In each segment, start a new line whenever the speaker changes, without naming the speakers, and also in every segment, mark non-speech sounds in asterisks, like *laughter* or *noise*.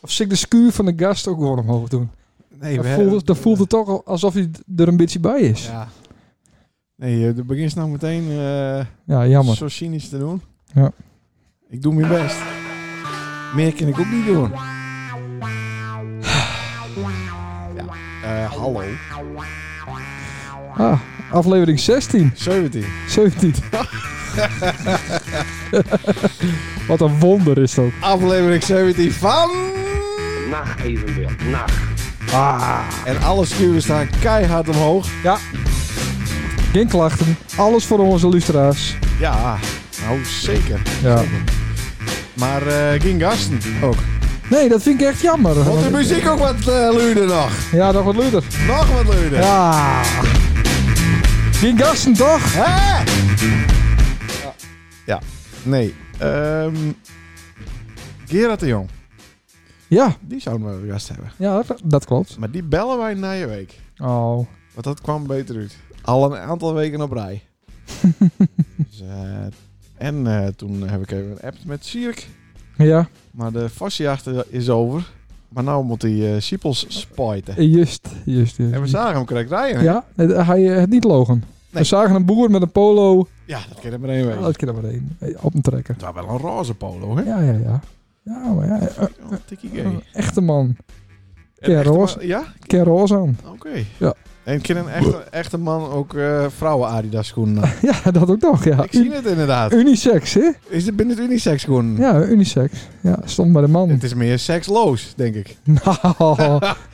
Of zie ik de skuur van de gast ook gewoon omhoog doen?
Nee,
dan, voelt het, dan voelt het toch al alsof hij d- er een beetje bij is. Ja,
Ja. Nee, eh, de begin is nou meteen eh,
jammer.
zo cynisch te doen.
Ja.
Ik doe mijn best. Meer kan ik ook niet doen. Ja, eh, hallo.
Ah, aflevering 16,
17. *laughs*
17. Wat een wonder is dat.
Aflevering 17 van...
Nacht evenbeeld. Nacht.
En alle schuren staan keihard omhoog.
Geen klachten, alles voor onze luisteraars.
Ja, nou zeker.
Ja.
Maar eh geen gasten ook.
Nee, dat vind ik echt jammer.
Want de muziek ook wat eh luider nog.
Ja, nog wat luider.
Nog wat luider.
Ja. Geen gasten toch?
Hè? Ja. Ja, nee. Ehm Gerard de Jong,
Ja,
die zouden we wel gast hebben.
ja dat, dat klopt.
Maar die bellen wij na je week.
Oh,
Want dat kwam beter uit. Al een aantal weken op rij.
*laughs*
dus, eh, en eh, toen heb ik even een app met Sierk.
ja,
Maar de fasciachter is over. Maar nou moet hij eh, Siepels spuiten.
juist, juist. juist.
En we zagen hem correct rijden. hè?
Ja, het- hij eh, het niet logen. We zagen een boer met een polo.
Ja, dat kan er maar één
Oh,
week.
dat kan er maar één. eh, Op een trekker.
Het was wel een roze polo, hè?
Ja, ja, ja. Ja, maar ja. eh,
Oh, tikkie gay.
Een echte man.
En echt,
roze.
maar- Ja?
Ken roze aan. *laughs*
Oké.
Ja.
En kan een echte, echte man ook eh, vrouwen Adidas schoenen? aan?
Ja, dat ook nog, *laughs* ja.
Ik zie het Hm. inderdaad.
Unisex, hè?
Is het binnen het unisex schoenen?
Ja, unisex. Ja, stond bij de man.
Het is meer seksloos, denk ik.
*laughs* Nou.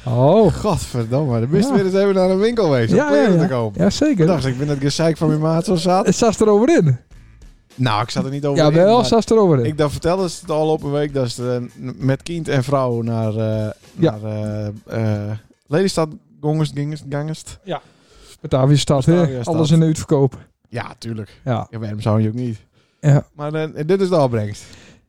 Oh.
Godverdamme, dan best
Ja.
weer eens even naar een winkel geweest om
Ja, ja,
kleren
ja.
te kopen.
Ja,
Ik
zeker. Eh,
dacht, ik ben dat gezeik van mijn maat zo zat.
Het zat eroverin.
Nou, ik zat er niet over
Ja,
in,
wel,
maar
zat eroverin.
Ik dacht, vertelde ze het al op een week dat ze eh, met kind en vrouw naar, eh
Ja.
naar eh, eh, Lelystad gongest, gingest, gangest.
Batavia stad, hè?
Bataviastad.
Alles in de uitverkoop.
Ja, tuurlijk.
Ja.
Ja, waarom zou je ook niet?
ja.
Maar eh, dit is de opbrengst.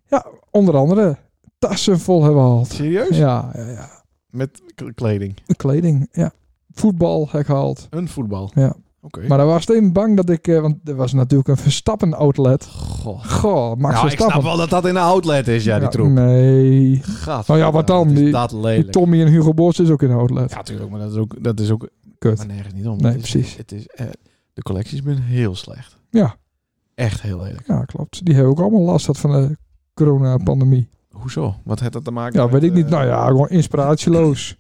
Ja, onder andere tassen vol hebben we gehaald.
Serieus?
Ja, ja, ja.
Met k- kleding.
Kleding, ja. Voetbal heb ik gehaald.
Een voetbal.
Ja.
Oké.
Maar daar was ik even bang dat ik... eh, Want er was natuurlijk een Verstappen outlet.
Goh.
Goh, Max
Nou, ik
Verstappen.
snap wel dat dat in de outlet is, ja, die troep.
Nee.
Gaat.
Nou ja, wat dan?
Is
Die-
dat
Die
lelijk.
Tommy en Hugo Boss is ook in de outlet.
ja, natuurlijk, maar dat is ook, dat is ook maar
Kut.
nergens niet om.
Nee,
Het is-
precies.
Het is, eh, de collecties zijn heel slecht.
Ja.
Echt heel lelijk.
Ja, klopt. Die hebben ook allemaal last gehad van de coronapandemie.
Hoezo? Wat heeft dat te maken
Ja,
met,
weet ik niet.
eh,
Nou ja, gewoon inspiratieloos.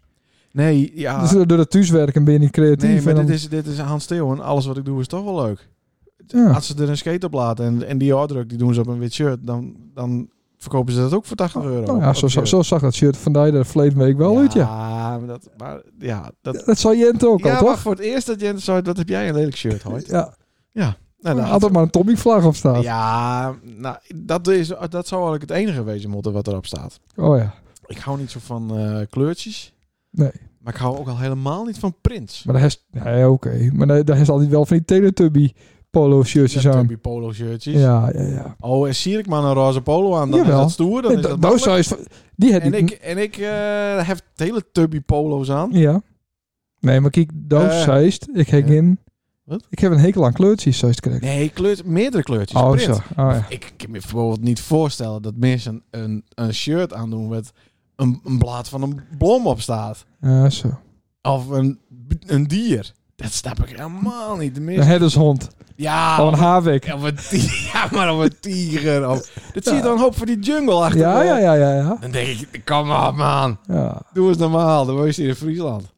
Nee, *laughs* ja.
Dus door het thuiswerken ben je niet creatief.
nee, maar
en
dit
dan-
is, dit is Hans Theo en alles wat ik doe is toch wel leuk.
Ja.
Als ze er een skate op laten en, en die harddruk, die doen ze op een wit shirt, dan, dan verkopen ze dat ook voor 80 euro.
Nou ja, zo,
Dat
zo,
shirt.
zo zag dat shirt van die er verleden week wel uit, ja.
Ja, maar dat, maar, ja, dat,
Dat zei Jente ook
ja
al,
maar
toch?
voor het eerst dat Jens zei, wat heb jij een lelijk shirt, hoor.
*laughs* Ja,
Nou, dan
had er maar een Tommy-vlag op staan.
Ja, nou, dat, is, dat zou eigenlijk het enige wezen moeten wat erop staat.
Oh ja,
Ik hou niet zo van eh, kleurtjes.
nee.
Maar ik hou ook al helemaal niet van prins.
Maar daar is... Nee, oké. Maar daar- daar is altijd wel van die Teletubby polo-shirtjes aan.
Tubby polo shirtjes.
Dus Ja, ja, ja.
Oh, en zie ik maar een roze polo aan, dan
Jawel.
is dat stoer. Dan
Nee,
is
da-
dat
nou,
mannelijk.
zou je eens van- Die had
En
die-
ik, en ik eh, heb hele tubby polo's aan.
Ja. Nee, maar kijk, doos
Eh,
zeist. Ik heb
ja.
in.
Wat?
Ik heb een hekel aan kleurtjes, zeist krijg.
Nee, kleur, meerdere kleurtjes.
oh,
print.
zo. Oh, ja.
Ik kan me bijvoorbeeld niet voorstellen dat mensen een, een shirt aandoen met een, een blaad van een blom op staat.
Ja, zo.
Of een, een dier. Dat snap ik helemaal niet. De
Een *laughs*
meeste...
herdershond.
Ah, Ja,
Of een haarwek.
of een ti- *laughs* ja, maar of een tiger. Of... Dat zie je dan een hoop van die jungle achter.
Ja, ja, ja, ja, ja.
Dan denk ik, kom op man.
ja.
Doe eens normaal. Dan was je
*laughs*
in Friesland.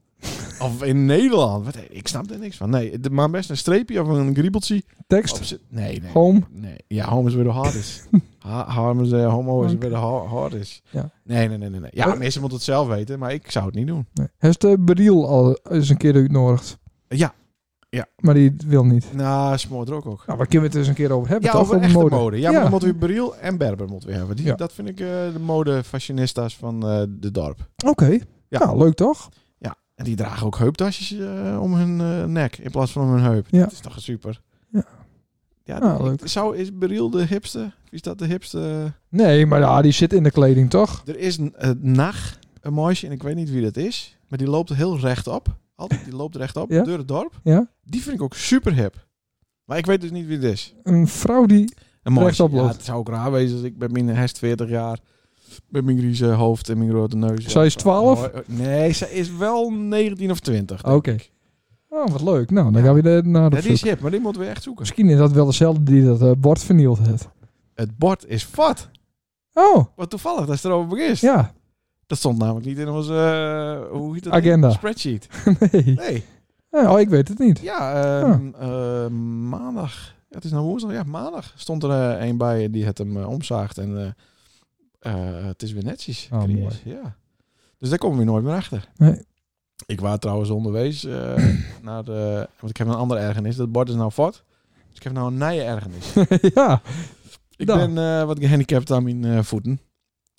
Of in Nederland. Wat, ik snap er niks van. Nee, de- maar best een streepje of een griebeltje.
Tekst.
Op z'n- Nee, nee.
Home.
Nee. Ja, homo is weer de hard is. Ha- Harm is, eh, homo is weer de ha- hard is.
Ja.
Nee, nee, nee, nee, nee. Ja, mensen moeten het zelf weten, maar ik zou het niet doen.
*laughs* Nee. Heeft de Beriel al eens een keer uitnodigd?
Ja. Ja.
Maar die wil niet.
Nou, smoor ook ook.
Nou, maar kunnen we het eens een keer over hebben?
Ja,
toch?
over
Over
echte mode.
mode.
Ja, maar dan moeten we Briel en Berber moeten we hebben. Die,
Ja.
Dat vind ik eh, de modefashionistas van eh, de dorp.
Oké.
Ja.
Nou, leuk toch?
En die dragen ook heuptasjes eh, om hun eh, nek in plaats van om hun heup.
Ja.
Dat is toch super.
Ja.
Ja,
Ja,
ik-
leuk.
Zou, is Briel de hipste? Is dat de hipste?
Nee, maar ja, die zit in de kleding, toch?
Er is een eh, nacht, een meisje, en ik weet niet wie dat is. Maar die loopt heel rechtop. Altijd, die loopt rechtop
Ja.
door het dorp.
Ja.
Die vind ik ook super hip. Maar ik weet dus niet wie het is.
Een vrouw die...
Een meisje.
Rechtop
Ja,
loopt.
het zou ook raar wezen als ik bij mijn herst 40 jaar Met mijn grieze hoofd en mijn rode neus.
Zij is 12?
Oh, oh, Nee, zij is wel 19 of 20.
Oké. Oh, wat leuk. Nou, dan gaan we de- naar de
Dat is
zoek.
hip, maar dit moeten we echt zoeken.
Misschien is dat wel dezelfde die dat eh, bord vernield heeft.
Het bord is vat.
Oh,
Wat toevallig, dat is erover begist.
ja. *laughs*
Dat stond namelijk niet in onze, eh, hoe heet dat?
Agenda.
Spreadsheet.
Nee.
Nee.
Ja, Oh, ik weet het niet. *laughs*
Ja, ehm, eh, maandag. Ja, het is nou woensdag. Ja, maandag stond er eh, een bij die het hem eh, omzaagt. En eh, eh, het is weer netjes.
Oh,
Chris,
mooi.
Ja. Dus daar komen we nooit meer achter.
Nee.
Ik was trouwens onderwees eh,
*clears throat*
naar de... Want ik heb een andere ergernis. Dat bord is nou fort. Dus ik heb nou een nije ergernis.
ja.
ik
Nou.
ben eh, wat gehandicapt aan mijn eh, voeten.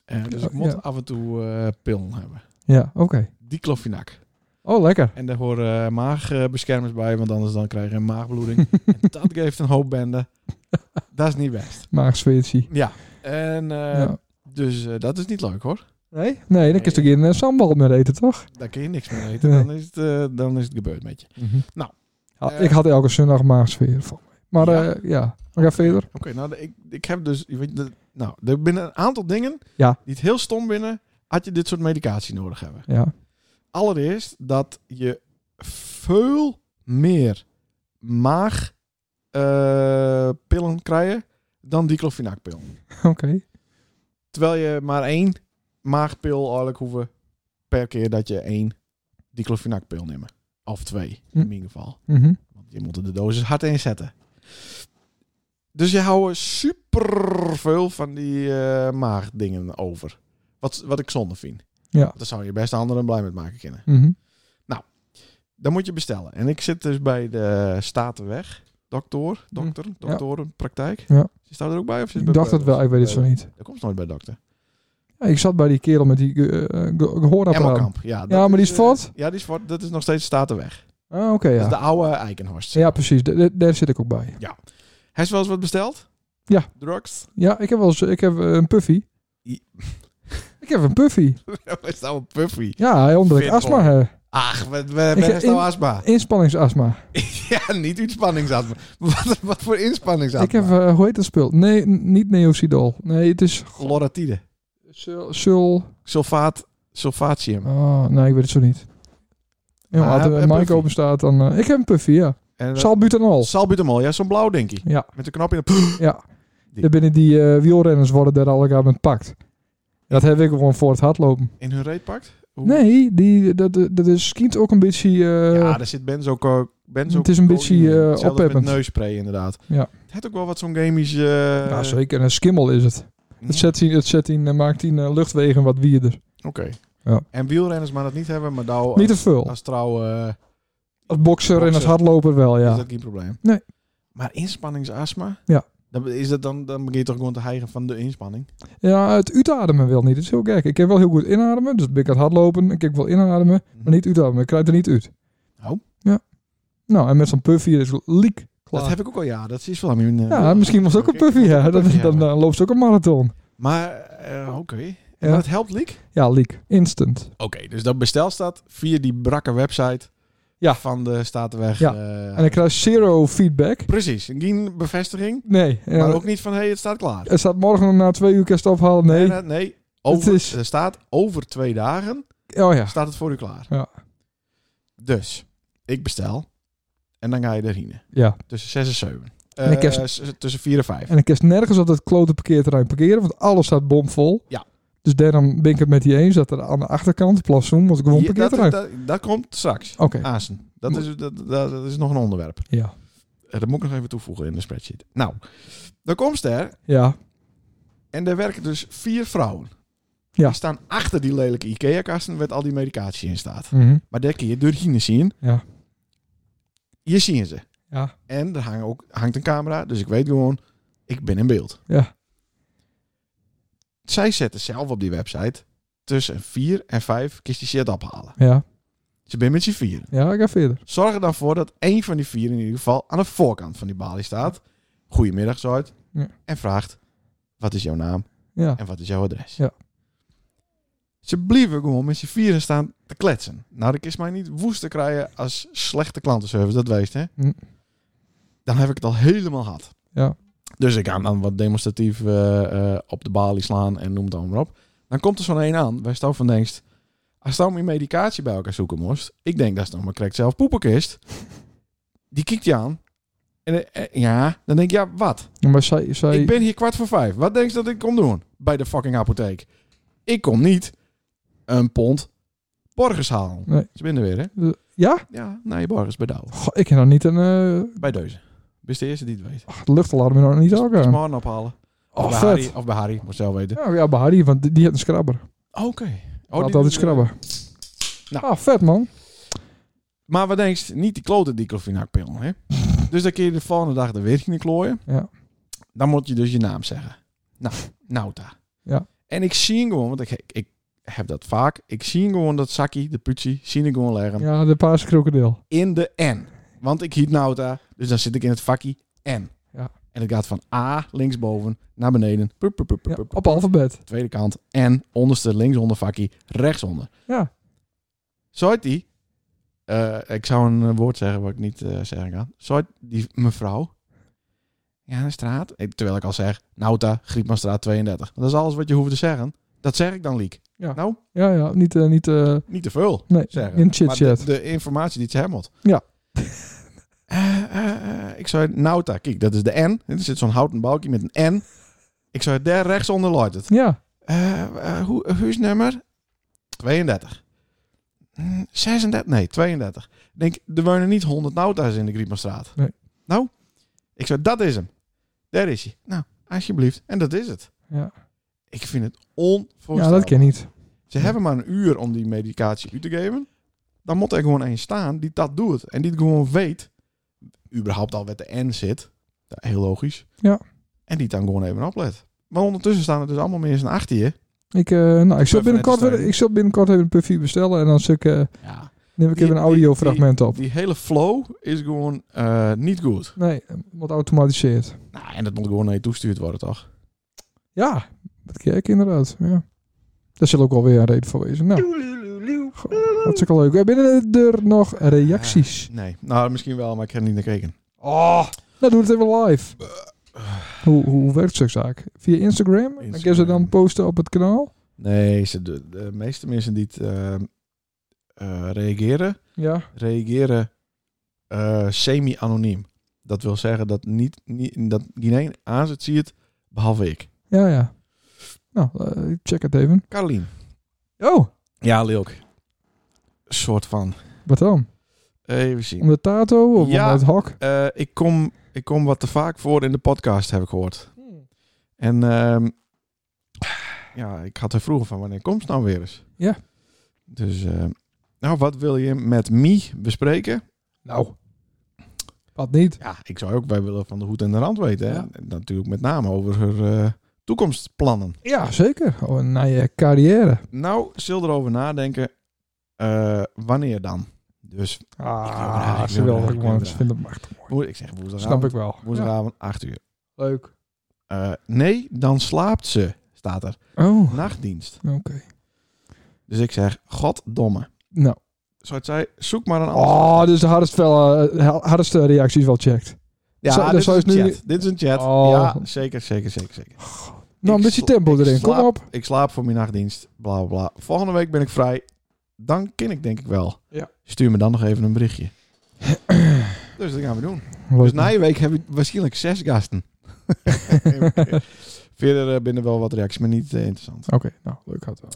Eh, dus ik
Ja,
moet
Oh, ja.
af en toe eh pillen hebben.
Ja, oké.
Diclofenac.
Oh, lekker.
En daar horen eh, maagbeschermers bij, want anders dan krijg je een maagbloeding.
*laughs*
en dat geeft een hoop bende. Dat is niet best.
Maagsfeertje.
Ja. En eh,
Ja.
dus eh, dat is niet leuk hoor.
Nee? Nee, dan kun je toch geen eh, sambal meer eten, toch?
Daar kun je niks meer eten.
Nee.
Dan, is het, eh, dan is het gebeurd met je. Nou,
Ha-
eh,
ik had elke zondag maagsfeer van mij. Maar
Ja.
ja, ja. we gaan verder.
Oké, nou ik, ik heb dus. je Weet, de- nou, er binnen een aantal dingen
Ja.
die het heel stom binnen. Had je dit soort medicatie nodig hebben.
Ja. *laughs*
Allereerst dat je veel meer maagpillen krijgt dan diclofenacpillen.
Oké.
Terwijl je maar één maagpil eigenlijk hoeven per keer dat je één diclofenacpil neemt. Of twee,
Hm.
in ieder geval.
Mhm.
Want je moet er de dosis hard inzetten. Dus je houdt super veel van die eh, maagdingen over. Wat, wat ik zonde vind.
Ja.
Daar zou je best anderen blij mee maken kunnen.
Mhm.
Dan moet je bestellen. En ik zit dus bij de Statenweg. Dokter, dokter, doktorenpraktijk.
Hm. Ja.
Zit daar ook bij? Of zit
Ik dacht
dat
het wel, ik weet het zo niet.
Dat komt nooit bij dokter.
Ja, ik zat bij die kerel met die eh, eh, ge- gehoorapparaat.
Emmelkamp, ja.
Ja, maar die is
eh,
fort.
ja, die is fort. Dat is nog steeds Statenweg.
Ah, oké,
Dat is
ja.
de oude Eikenhorst.
Ja, precies. Da- da- Daar zit ik ook bij.
Hij is wel eens wat besteld?
Ja.
Drugs? *laughs*
Ja, ik heb wel eens, ik heb eh, een puffy.
I-
Ik heb een puffy.
Dat is nou een puffy.
Ja, omdat ik
Fit
asma
boy.
heb.
Ach, we hebben
Ik-
best nou
in-
astma. *laughs*
Inspanningsasma.
ja, niet uitspanningsastma. *laughs* Wat, wat voor inspanningsastma?
Ik heb, eh, hoe heet dat spul? Nee, n- niet Neosidol. Nee, het is
Loratide.
sul... sul
Sulfaat, sulfatium.
oh, nee, ik weet het zo niet. Ja,
Ah,
maar als
en
er een mic
Puffy.
open staat, dan... eh, ik heb een puffy, ja.
En, eh,
Salbutamol.
salbutamol, ja, zo'n blauw dinkie.
Ja,
Met een knop in de...
ja.
Die.
Daar binnen die eh, wielrenners worden daar al elkaar met pakt. Dat heb ik gewoon voor het hardlopen.
in hun reet pakt. Hoe-
Nee, die, dat, dat is schiet ook een beetje... eh,
ja, daar zit benzo, benzo
het is een beetje,
codeïne in.
eh,
Hetzelfde
opheppend.
met neuspray inderdaad.
Ja.
Het heeft ook wel wat zo'n gamisch... eh, Hmm.
ja, zeker. Een skimmel is het. Het zet in, het zet in, eh, maakt in eh, luchtwegen wat wierder.
Oké.
Ja.
En wielrenners maar dat niet hebben, maar nou
Niet te
als,
veel.
als trouw eh,
Als bokser en als
Bokser.
hardloper wel,
is
ja.
dat geen probleem.
Nee.
Maar inspanningsastma?
Ja.
Dan, is dat dan, dan begin je toch gewoon te hijgen van de inspanning?
Ja, het uitademen wel niet. Dat is heel gek. Ik kan wel heel goed inademen. Dus ben ik aan het hardlopen. Ik kan wel inademen. Maar niet uitademen. Ik krijg er niet uit.
Hmm. Oh.
Ja. Nou, en met zo'n puffy is het liek klaar.
Dat heb ik ook al, ja. Dat is wel aan mijn... eh,
ja, misschien was het ook een
Ik moet
puffy. Ja.
een
Dan,
puffy
dan, eh,
hebben.
dan loopt ze ook een marathon.
Maar, eh, oké. En
Ja.
dat helpt, Liek?
Ja, liek. Instant.
Oké, dus dat bestel staat via die brakke website
Ja.
van de Statenweg.
Ja.
eh,
En ik krijg zero feedback.
Precies. Geen bevestiging,
Nee. En
maar ook niet van, hé, hey, het staat klaar.
Het staat morgen na twee uur kerst ophalen. Nee.
Nee, nee. Over,
Het is-
Er staat over twee dagen
Oh ja.
staat het voor u klaar.
Ja.
Dus, ik bestel. En dan ga je erin.
Ja.
Tussen 6 en 7.
En ik heb-
tussen 4 en 5.
En ik kerst nergens op dat klote parkeerterrein parkeren. Want alles staat bomvol.
Ja.
Dus daarom ben ik het met die eens. Dat er aan de achterkant, plassoen, moet ik Oh, gewoon
Hier, dat,
parkeerterrein.
dat, dat komt straks.
Oké.
Azen. Dat is, dat, dat, dat is nog een onderwerp.
Ja.
Eh, Dat moet ik nog even toevoegen in de spreadsheet. Nou, dan komt ze er.
Ja.
En daar werken dus vier vrouwen.
Ja.
Die staan achter die lelijke IKEA-kasten waar al die medicatie in staat.
Mhm.
Maar daar kun je doorheen zien.
Ja.
Hier zien ze.
Ja.
En er hangen ook, hangt een camera, dus ik weet gewoon, ik ben in beeld.
Ja.
Zij zetten zelf op die website tussen 4 en 5 kist die shit ophalen.
Ja.
Ze ben met z'n vier.
Ja, ik ga verder.
Zorg er dan voor dat één van die vier in ieder geval aan de voorkant van die balie staat. Goedemiddag, Zuid.
Ja.
En vraagt, wat is jouw naam
Ja.
en wat is jouw adres?
Ja.
Ze blijven gewoon met z'n vieren staan te kletsen. Nou, dat is mij niet woest te krijgen als slechte klantenservice, dat weet hè.
Hm.
Dan heb ik het al helemaal gehad.
Ja.
Dus ik ga hem dan wat demonstratief eh, eh, op de balie slaan en noem het allemaal maar op. Dan komt er zo'n een aan waar Stouw van denkt... Als Stouw mijn medicatie bij elkaar zoeken moest... Ik denk dat is nog maar correct zelf poepenkist. Die kijkt je aan. En eh, eh, ja, dan denk je, ja, wat?
Maar zij, zij
Ik ben hier kwart voor vijf. Wat denk je dat ik kom doen? Bij de fucking apotheek. Ik kom niet een pond borgers halen.
Nee.
Ze binnen weer, hè?
Ja?
Ja, naar je borgers bij Douwe.
Goh, ik heb nog niet een... eh
Bij Deuze. Bist de eerste die het weet.
ach, de luchtalarm is nog niet
Dus- dus
ook eh.
morgen ophalen.
Oh,
bij
vet.
Harry, of bij Harry, moet zelf weten.
Ja, ja, bij Harry, want die, die had een scrabber.
Oké.
Oh, had
die-
altijd scrabber.
Nou.
Ah, vet man.
Maar wat denk je? Niet die klote diclofenacpil,
*laughs*
hè? dus dan kun je de volgende dag er weer in klooien.
Ja.
Dan moet je dus je naam zeggen. Nou, Nauta.
Ja.
En ik zie hem gewoon, want ik, ik, ik heb dat vaak. Ik zie hem gewoon dat zakkie, de putsie, zie ik gewoon leggen
Ja, de paarse krokodil.
in de N. Want ik hiet Nauta, dus dan zit ik in het vakje N.
Ja.
En het gaat van A linksboven naar beneden. Pup, pup, pup, pup,
Ja,
pup.
op alfabet.
tweede kant. En onderste linksonder vakkie, rechtsonder.
Ja.
Zou het die... eh, ik zou een eh, woord zeggen wat ik niet eh, zeggen kan. Zou het die mevrouw... Ja, de straat. eh, Terwijl ik al zeg, Nauta, Griepmanstraat 32. Dat is alles wat je hoeft te zeggen. Dat zeg ik dan, Liek.
Ja.
Nou,
Ja, ja, niet... eh, niet eh,
niet te veel
nee,
zeggen.
in
Maar
chit-chat.
de, de informatie die ze hebben moet.
Ja.
*laughs* Eh, eh, eh, ik zou Nauta, kijk, dat is de N. Er zit zo'n houten balkje met een N. Ik zou daar rechtsonder luiden.
Ja,
Eh, eh, hoe, huisnummer? 32. Mm, 36? Nee, 32. Ik denk, er wonen niet 100 nauta's in de Griepmanstraat.
Nee.
Nou, ik zei, dat is hem. Daar is hij. Nou, alsjeblieft. En dat is het.
Ja.
Ik vind het
ja
onvoorstelbaar.
dat ken niet.
Ze hebben maar een uur om die medicatie u te geven. Dan moet er gewoon een staan die dat doet. En die het gewoon weet. Überhaupt al met de N zit. Ja, Heel logisch.
Ja.
En die dan gewoon even oplet. Maar ondertussen staan er dus allemaal mensen achter je.
Ik, eh, nou, ik, zal
Puff
binnenkort
net
weer,
te
ik zal binnenkort even een puffie bestellen en dan zal ik, eh,
Ja.
neem ik
Die-
even een
die-
audiofragment op.
Die hele flow is gewoon eh, niet goed.
Nee, wat automatiseerd.
Nou, en dat moet gewoon naar je toestuurd worden, toch?
Ja, dat ken ik inderdaad. Ja. Daar zal ook wel weer een reden voor wezen. Nou, goh, hartstikke leuk. Eh, Binnen er nog reacties?
Nee. Nou, misschien wel, maar ik heb er niet naar gekeken.
Oh. Nou, doe het even live. Hoe, hoe werkt zo'n zaak? Via Instagram? Dan kun je ze
Instagram.
dan posten op het kanaal?
Nee, ze, de, de meeste mensen die het eh, eh, reageren,
Ja.
reageren eh, semi-anoniem. Dat wil zeggen dat, niet, niet, dat geen één aanzet zie het, behalve ik.
Ja, ja. Nou, eh, ik check het even.
Carolien.
Oh,
Ja, Leuk. Een soort van.
wat dan?
Even zien.
Om de tato of
Ja.
om het hok?
Eh, ik, kom, ik kom wat te vaak voor in de podcast, heb ik gehoord. En ehm, ja, ik had er vroeger van wanneer komt het nou weer eens?
Ja.
Dus, ehm, nou, wat wil je met me bespreken?
Nou, wat niet?
Ja, ik zou ook bij willen van de hoed en de rand weten. hè.
Ja.
En natuurlijk met name over haar eh, toekomstplannen.
Ja, zeker. Oh, naar je carrière.
Nou, zul erover nadenken. eh, wanneer dan? Dus,
Ah,
ik
ze wil
wil graag,
ook
ik
man.
wil
Ze vindt het machtig mooi.
woe- ik zeg woensdagavond.
Snap ik wel. Ja,
Woensdagavond, 8 uur.
leuk.
Eh, nee, dan slaapt ze, staat er.
Oh,
Nachtdienst.
oké.
Dus ik zeg, goddomme.
Nou.
Zoals zij, zoek maar een ander.
Oh, dus de hardste, hardste reacties wel Nou, checkt.
Ja,
Zo-
dit,
zo
is
is
een
nu-
chat. dit is een chat.
Oh.
Ja, zeker, zeker, zeker, zeker.
Nou,
Ik
een beetje
sla-
tempo
ik
erin.
slaap-
Kom op.
Ik slaap voor mijn nachtdienst, bla bla bla. Volgende week ben ik vrij. Dan ken ik denk ik wel.
Ja.
Stuur me dan nog even een
*clears throat*
berichtje. dus dat gaan we doen. Dus
Leuk.
na je week heb ik waarschijnlijk zes
*laughs*
gasten. Verder eh, binnen wel wat reacties, maar niet eh, interessant. Eh,
Oké, nou, leuk had wel.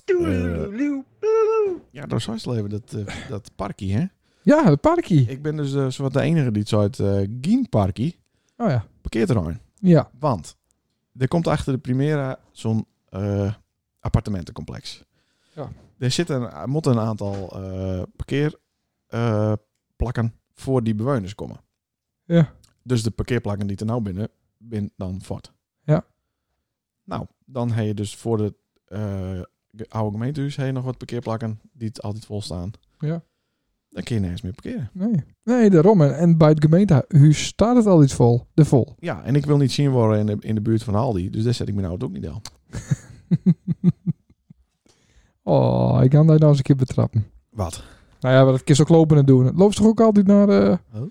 Ja, door Zuidsleven, dat, eh, dat parkie, hè?
Ja, het parkie.
Ik ben dus eh, zowat de enige die het zo uit eh Gien Parkie
Oh ja.
parkeerterrein.
Ja.
Want er komt achter de Primera zo'n eh, appartementencomplex.
Ja.
Er zitten er moeten een aantal eh, parkeerplakken voor die bewoners komen.
Ja.
Dus de parkeerplakken die er nou binnen, bin dan fort.
Ja.
Nou, dan heb je dus voor de eh, ge- oude gemeentehuis heb je nog wat parkeerplakken die het altijd vol staan.
Ja.
Dan kun je nergens meer parkeren.
Nee. Nee, daarom. En, en bij het gemeentehuis staat het al iets vol. De vol.
Ja, en ik wil niet zien worden in de, in de buurt van Aldi, dus daar zet ik mijn auto ook niet aan.
Oh, ik kan daar nou eens een keer betrappen.
Wat?
Nou ja, maar dat kun je ook lopen en doen. Het loopt toch ook altijd naar de...
Oh.
eh,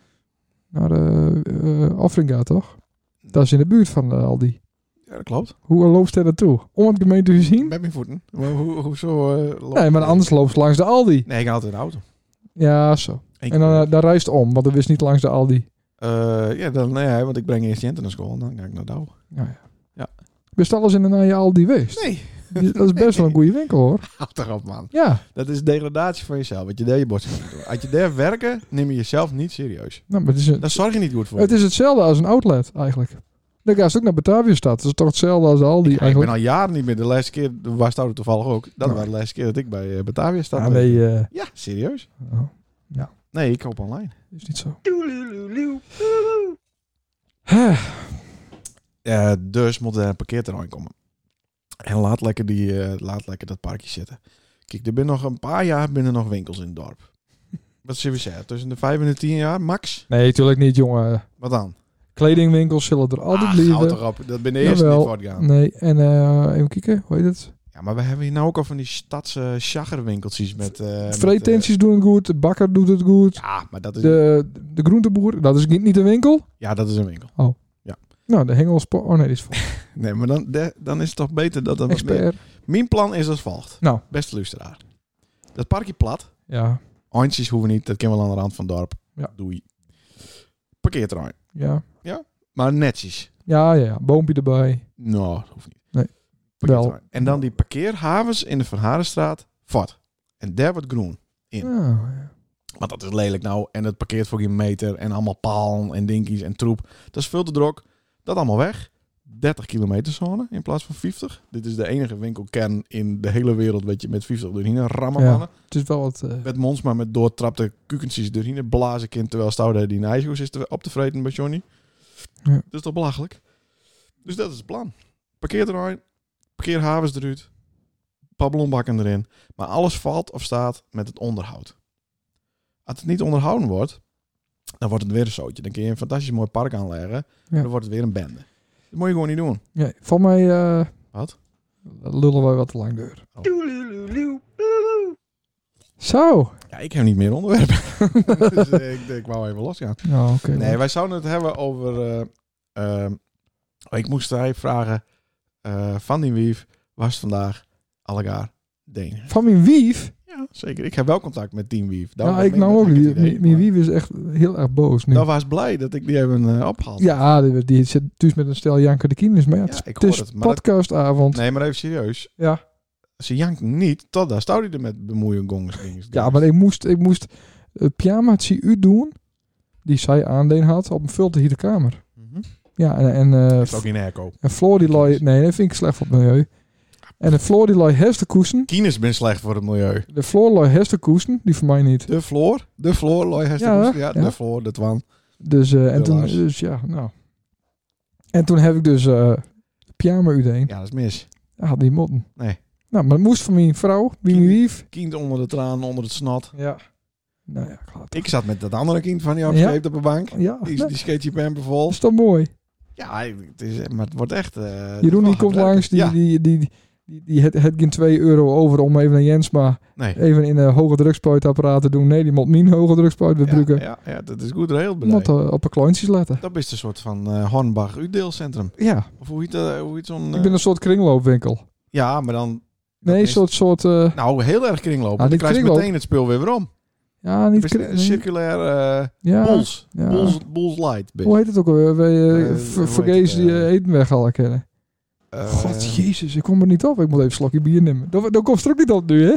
Naar de eh, Afringa, toch? Dat is in de buurt van eh, Aldi.
Ja, dat klopt.
Hoe loopt hij naartoe? Om het gemeente te zien?
Met mijn voeten. Maar hoe, hoezo? eh, loopt-
Nee, maar anders loopt ze langs de Aldi.
Nee, ik ga altijd in de auto.
Ja, zo.
Ik-
En dan, eh, daar reist om, want er wist niet langs de Aldi.
Eh, ja, dan, nee, want ik breng eerst Jent naar school en dan ga ik naar Douw.
Nou ja.
Ja.
Best alles in en aan je Aldi weest.
Nee,
*laughs* Dat is best wel een goede winkel hoor.
*laughs* houd erop man.
Ja,
Dat is degradatie van jezelf. Wat je daar je borst moet doen. Als je daar werken, neem je jezelf niet serieus.
nou, maar het, is een-
Daar zorg je niet goed voor.
het is hetzelfde als een outlet eigenlijk. Dan ga je ook naar Batavia stad. Dat is toch hetzelfde als de Aldi
ik, ik ben
eigenlijk.
al jaren niet meer. De laatste keer was het toevallig ook. Dat
Nee.
was de laatste keer dat ik bij eh, Batavia stond.
Ja, nee, eh,
Ja, serieus?
oh,
Nee, ik koop online.
is niet zo.
Eh, dus moet er een parkeerterrein komen. En laat lekker, die, eh, laat lekker dat parkje zitten. Kijk, er binnen nog een paar jaar binnen nog winkels in het *laughs* dorp. Wat zullen we zeggen? Tussen de vijf en de tien jaar, max?
Nee, tuurlijk niet jongen.
Wat dan?
Kledingwinkels zullen er altijd
Ah,
blijven.
houd erop. Dat ben de eerste
Jawel.
die voor gaan.
Nee, en eh, even kijken, hoe heet het?
Ja, maar we hebben hier nou ook al van die stadse chaggerwinkeltjes met... eh, met,
Vreetenties doen het goed, de bakker doet het goed.
eh, ja, maar dat is,
De, de groenteboer, dat is niet niet een winkel.
ja, dat is een winkel.
Nou, de hengelspo... Oh nee, die is voor
Nee, maar dan, de- dan is het toch beter dat... dat
expert.
Mijn plan is als volgt.
Nou.
Beste luisteraar. Dat parkje plat.
Ja,
Handjes hoeven niet, dat kan wel aan de rand van het dorp.
Ja.
Doei. Parkeerterrein.
ja.
Maar netjes.
Ja, ja, ja. Boompje erbij.
Nou, dat hoeft niet.
Nee.
Parkeerterrein. En dan die parkeerhavens in de Verharenstraat. Vat. En daar wordt groen. Ja.
Nou, ja.
Want dat is lelijk nou. En het parkeert voor geen meter. En allemaal paal en dinkies en troep. Dat is veel te druk. Dat allemaal weg. 30 kilometer zone in plaats van 50. Dit is de enige winkelkern in de hele wereld. Weet je, met 50 doorheen rammen
Ja.
mannen.
Het is wel wat... eh,
Met mons, maar met doortrapte kukentjes erin. Blazen kind, terwijl Stouder die ijsgoes is te- op te vreten bij Johnny.
Ja.
Dat is toch belachelijk? Dus dat is het plan. nou Parkeerterrein, parkeerhavens eruit, pablonbakken erin. Maar alles valt of staat met het onderhoud. Als het niet onderhouden wordt, dan wordt het weer een zootje. Dan kun je een fantastisch mooi park aanleggen.
Ja.
Dan wordt het weer een bende. Dat moet je gewoon niet doen.
Nee, van mij... eh,
Wat?
Lullen wij wat te lang deur.
Oh.
Zo.
Ja, ik heb niet meer onderwerpen.
*laughs*
*laughs* dus eh, ik, ik wou even losgaan.
Nou, oké.
Nee, wij zouden het hebben over. eh, ehm, oh, ik moest daar even vragen. eh, van die wief was vandaag allegaar Denen.
Van mijn wief?
Ja, zeker. Ik heb wel contact met Team Wief. Daarom
Nou, ik
meen
nou
dat
ook.
het
Die-
idee,
Mijn mijn
maar
wief is echt heel erg boos nu.
Dan was blij dat ik die even eh, ophaald.
Ja, die, die zit thuis met een stel Janker de Kienis. Maar ja, het
Ja,
is,
ik
het is
hoor het, maar dat-
podcastavond.
Nee, maar even serieus.
Ja.
Ze jankt niet, tot daar stond hij er met bemoeien gongs. dinges,
Ja,
dinges.
maar ik moest, ik moest eh, het pyjamaatje u doen, die zij aandeen had, op een filter hier de kamer.
Mhm.
Ja, en, en, eh,
Is ook in airco.
en Floor die looi... Nee, dat vind ik slecht voor het milieu. En de Floor die looi herstenkoesen.
Kines ben slecht voor het milieu.
De Floor looi herstenkoesen, die voor mij niet.
De Floor, de Floor, Loy heeft
Ja,
ja, ja,
ja.
de Floor, de Twan.
Dus, eh, en toen,
Helaas.
dus ja, nou. En toen heb ik dus eh pyjama uiteen.
Ja, dat is mis.
Ja. Had die motten.
Nee.
Nou, maar het moest van mijn vrouw, wie mijn
Kie-
wief.
Kind onder de tranen, onder het snot.
Ja. Nou ja, klaar.
Ik zat met dat andere kind van die afgescheept op een bank.
Ja,
Die,
nee,
die skate je pamper
dat
vol.
is toch mooi.
Ja, het is, maar het wordt echt... eh,
Jeroen die
het wordt
komt
leuk.
langs, die,
Ja,
die, die, die, die, die het, het geen 2 euro over om even naar Jens, maar
nee.
even in een hoge drukspuitapparaat te doen. Nee, die moet mijn hoge drukspuit gebruiken.
Ja, ja, ja, dat is goed regeld
Ja, moet
bedrijf.
eh, op een klontjes letten.
Dat is een soort van eh hornbach uitdeelcentrum.
Ja,
Of hoe heet, dat- hoe heet zo'n... eh,
ik ben een soort kringloopwinkel.
Ja, maar dan...
Nee, een
is-
soort, soort eh,
Nou, heel erg kringlopen.
Ah,
dan
dit
krijg je
kringloop-
meteen het spul weer weer om.
ja,
Het
niet
is
kring-
Een circulair eh
ja,
bols.
ja.
bols. Bols light. bit.
Hoe heet het ook alweer? Wij, eh,
Eh,
ver-
hoe heet
vergezen
het,
die
eh?
eh, eten weg al kennen.
Eh,
God, jezus, ik kom er niet op. Ik moet even een slokje bier nemen. Dat, dat komt er ook niet op nu, hè?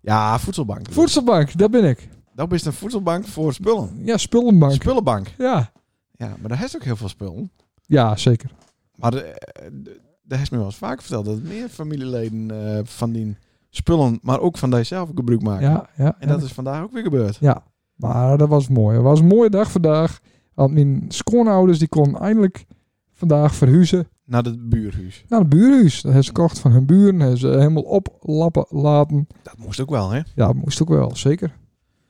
Ja, voedselbank.
Voedselbank, daar ben ik.
Dat is een voedselbank voor spullen.
Ja, spullenbank.
Spullenbank.
ja.
Ja, maar daar heeft ook heel veel spullen.
ja, zeker.
Maar de, eh, de- daar is me wel eens vaak verteld dat meer familieleden eh, van die spullen, maar ook van zelf gebruik maken.
Ja, ja,
Ah, En dat is vandaag ook weer gebeurd.
Ja, maar dat was mooi. Het was een mooie dag vandaag. Want mijn schoonouders die konden eindelijk vandaag verhuizen
Naar het buurhuis.
naar het buurhuis. Dat hebben ze gekocht van hun buren. Hebben ze helemaal oplappen laten.
Dat moest ook wel, hè?
Ja, dat moest ook wel, zeker.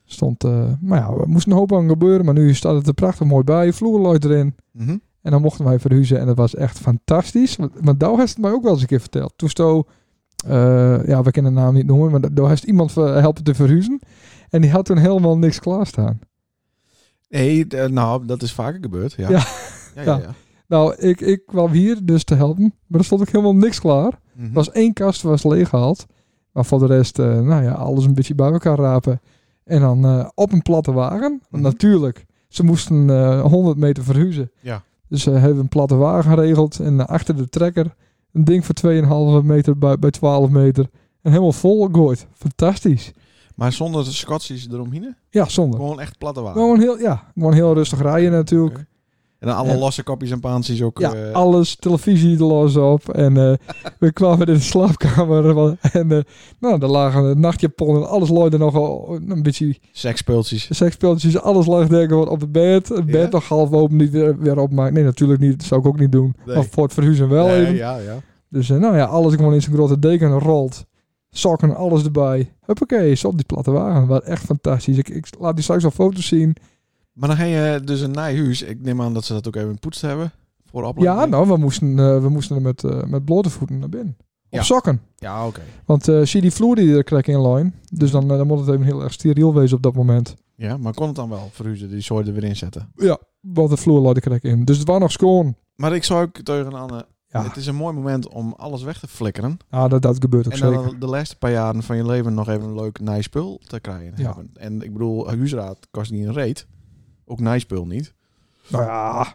Stond, eh, maar ja, er moest een hoop aan gebeuren. Maar nu staat het er prachtig mooi bij. Vloerloid erin.
Mhm.
En dan mochten wij verhuizen. En dat was echt fantastisch. Want, want Douw heeft het mij ook wel eens een keer verteld. Toen sto, eh, ja, we kunnen de naam niet noemen. Maar Douw heeft iemand ver- helpen te verhuizen. En die had toen helemaal niks klaarstaan.
Nee, d- eh, nou, dat is vaker gebeurd. Ja.
Ja. *laughs*
ja, ja,
Ja.
ja.
Nou, ik, ik kwam hier dus te helpen, maar er stond ook helemaal niks klaar.
Mhm.
Er was één kast was leeggehaald. Maar voor de rest, eh, nou ja, alles een beetje bij elkaar rapen. En dan eh, op een platte wagen. Want
Mhm.
natuurlijk, ze moesten eh 100 meter verhuizen.
Ja.
Dus ze hebben een platte wagen geregeld. En eh, achter de trekker een ding van 2,5 meter bij, bij 12 meter. En helemaal vol gooit. Fantastisch.
Maar zonder de Scotsies eromheen?
Ja, zonde.
Gewoon echt platte wagen.
Gewoon heel, ja, gewoon heel rustig rijden natuurlijk.
Oké. En dan alle
En-
losse kopjes en paansies ook.
Ja,
eh,
alles, televisie er los op. En
*laughs*
eh, we kwamen in de slaapkamer. wa- En eh, nou, daar lagen een nachtjapon en alles looide nogal een beetje
seksspeeltjes.
seksspeeltjes. Alles lag denk ik gewoon op het bed. Het bed
Ja?
nog half open, niet weer, weer opmaken. Nee, natuurlijk niet. Dat zou ik ook niet doen.
Nee.
Maar voor het verhuizen wel
Nee,
even.
ja, ja.
Dus eh, nou ja, alles gewoon in zijn grote deken rolt. Sokken, alles erbij. Huppakee, is op die platte wagen. Wat echt fantastisch. Ik, ik laat die straks wel foto's zien.
Maar dan ga je dus een nijhuis. Ik neem aan dat ze dat ook even poetst hebben. Voor de aflevering.
Ja, nou, we moesten, eh, we moesten er met, eh, met blote voeten naar binnen. Op
Ja.
sokken.
Ja, oké.
Want eh zie die vloer die er krek in line. Dus dan, eh, dan moet het even heel erg steriel wezen op dat moment.
Ja, maar kon het dan wel verhuizen, die zooi er weer in zetten.
Ja, want de vloer lag er krek in. Dus het was nog schoon.
Maar ik zou ook tegen Anne,
Ja.
het is een mooi moment om alles weg te flikkeren.
Ah, dat, dat gebeurt ook
En
zeker.
dan de laatste paar jaren van je leven nog even een leuk nijspul te krijgen.
Ja.
hebben. En ik bedoel, een huisraad kost niet een reet. Ook nijspul niet.
Nou ja.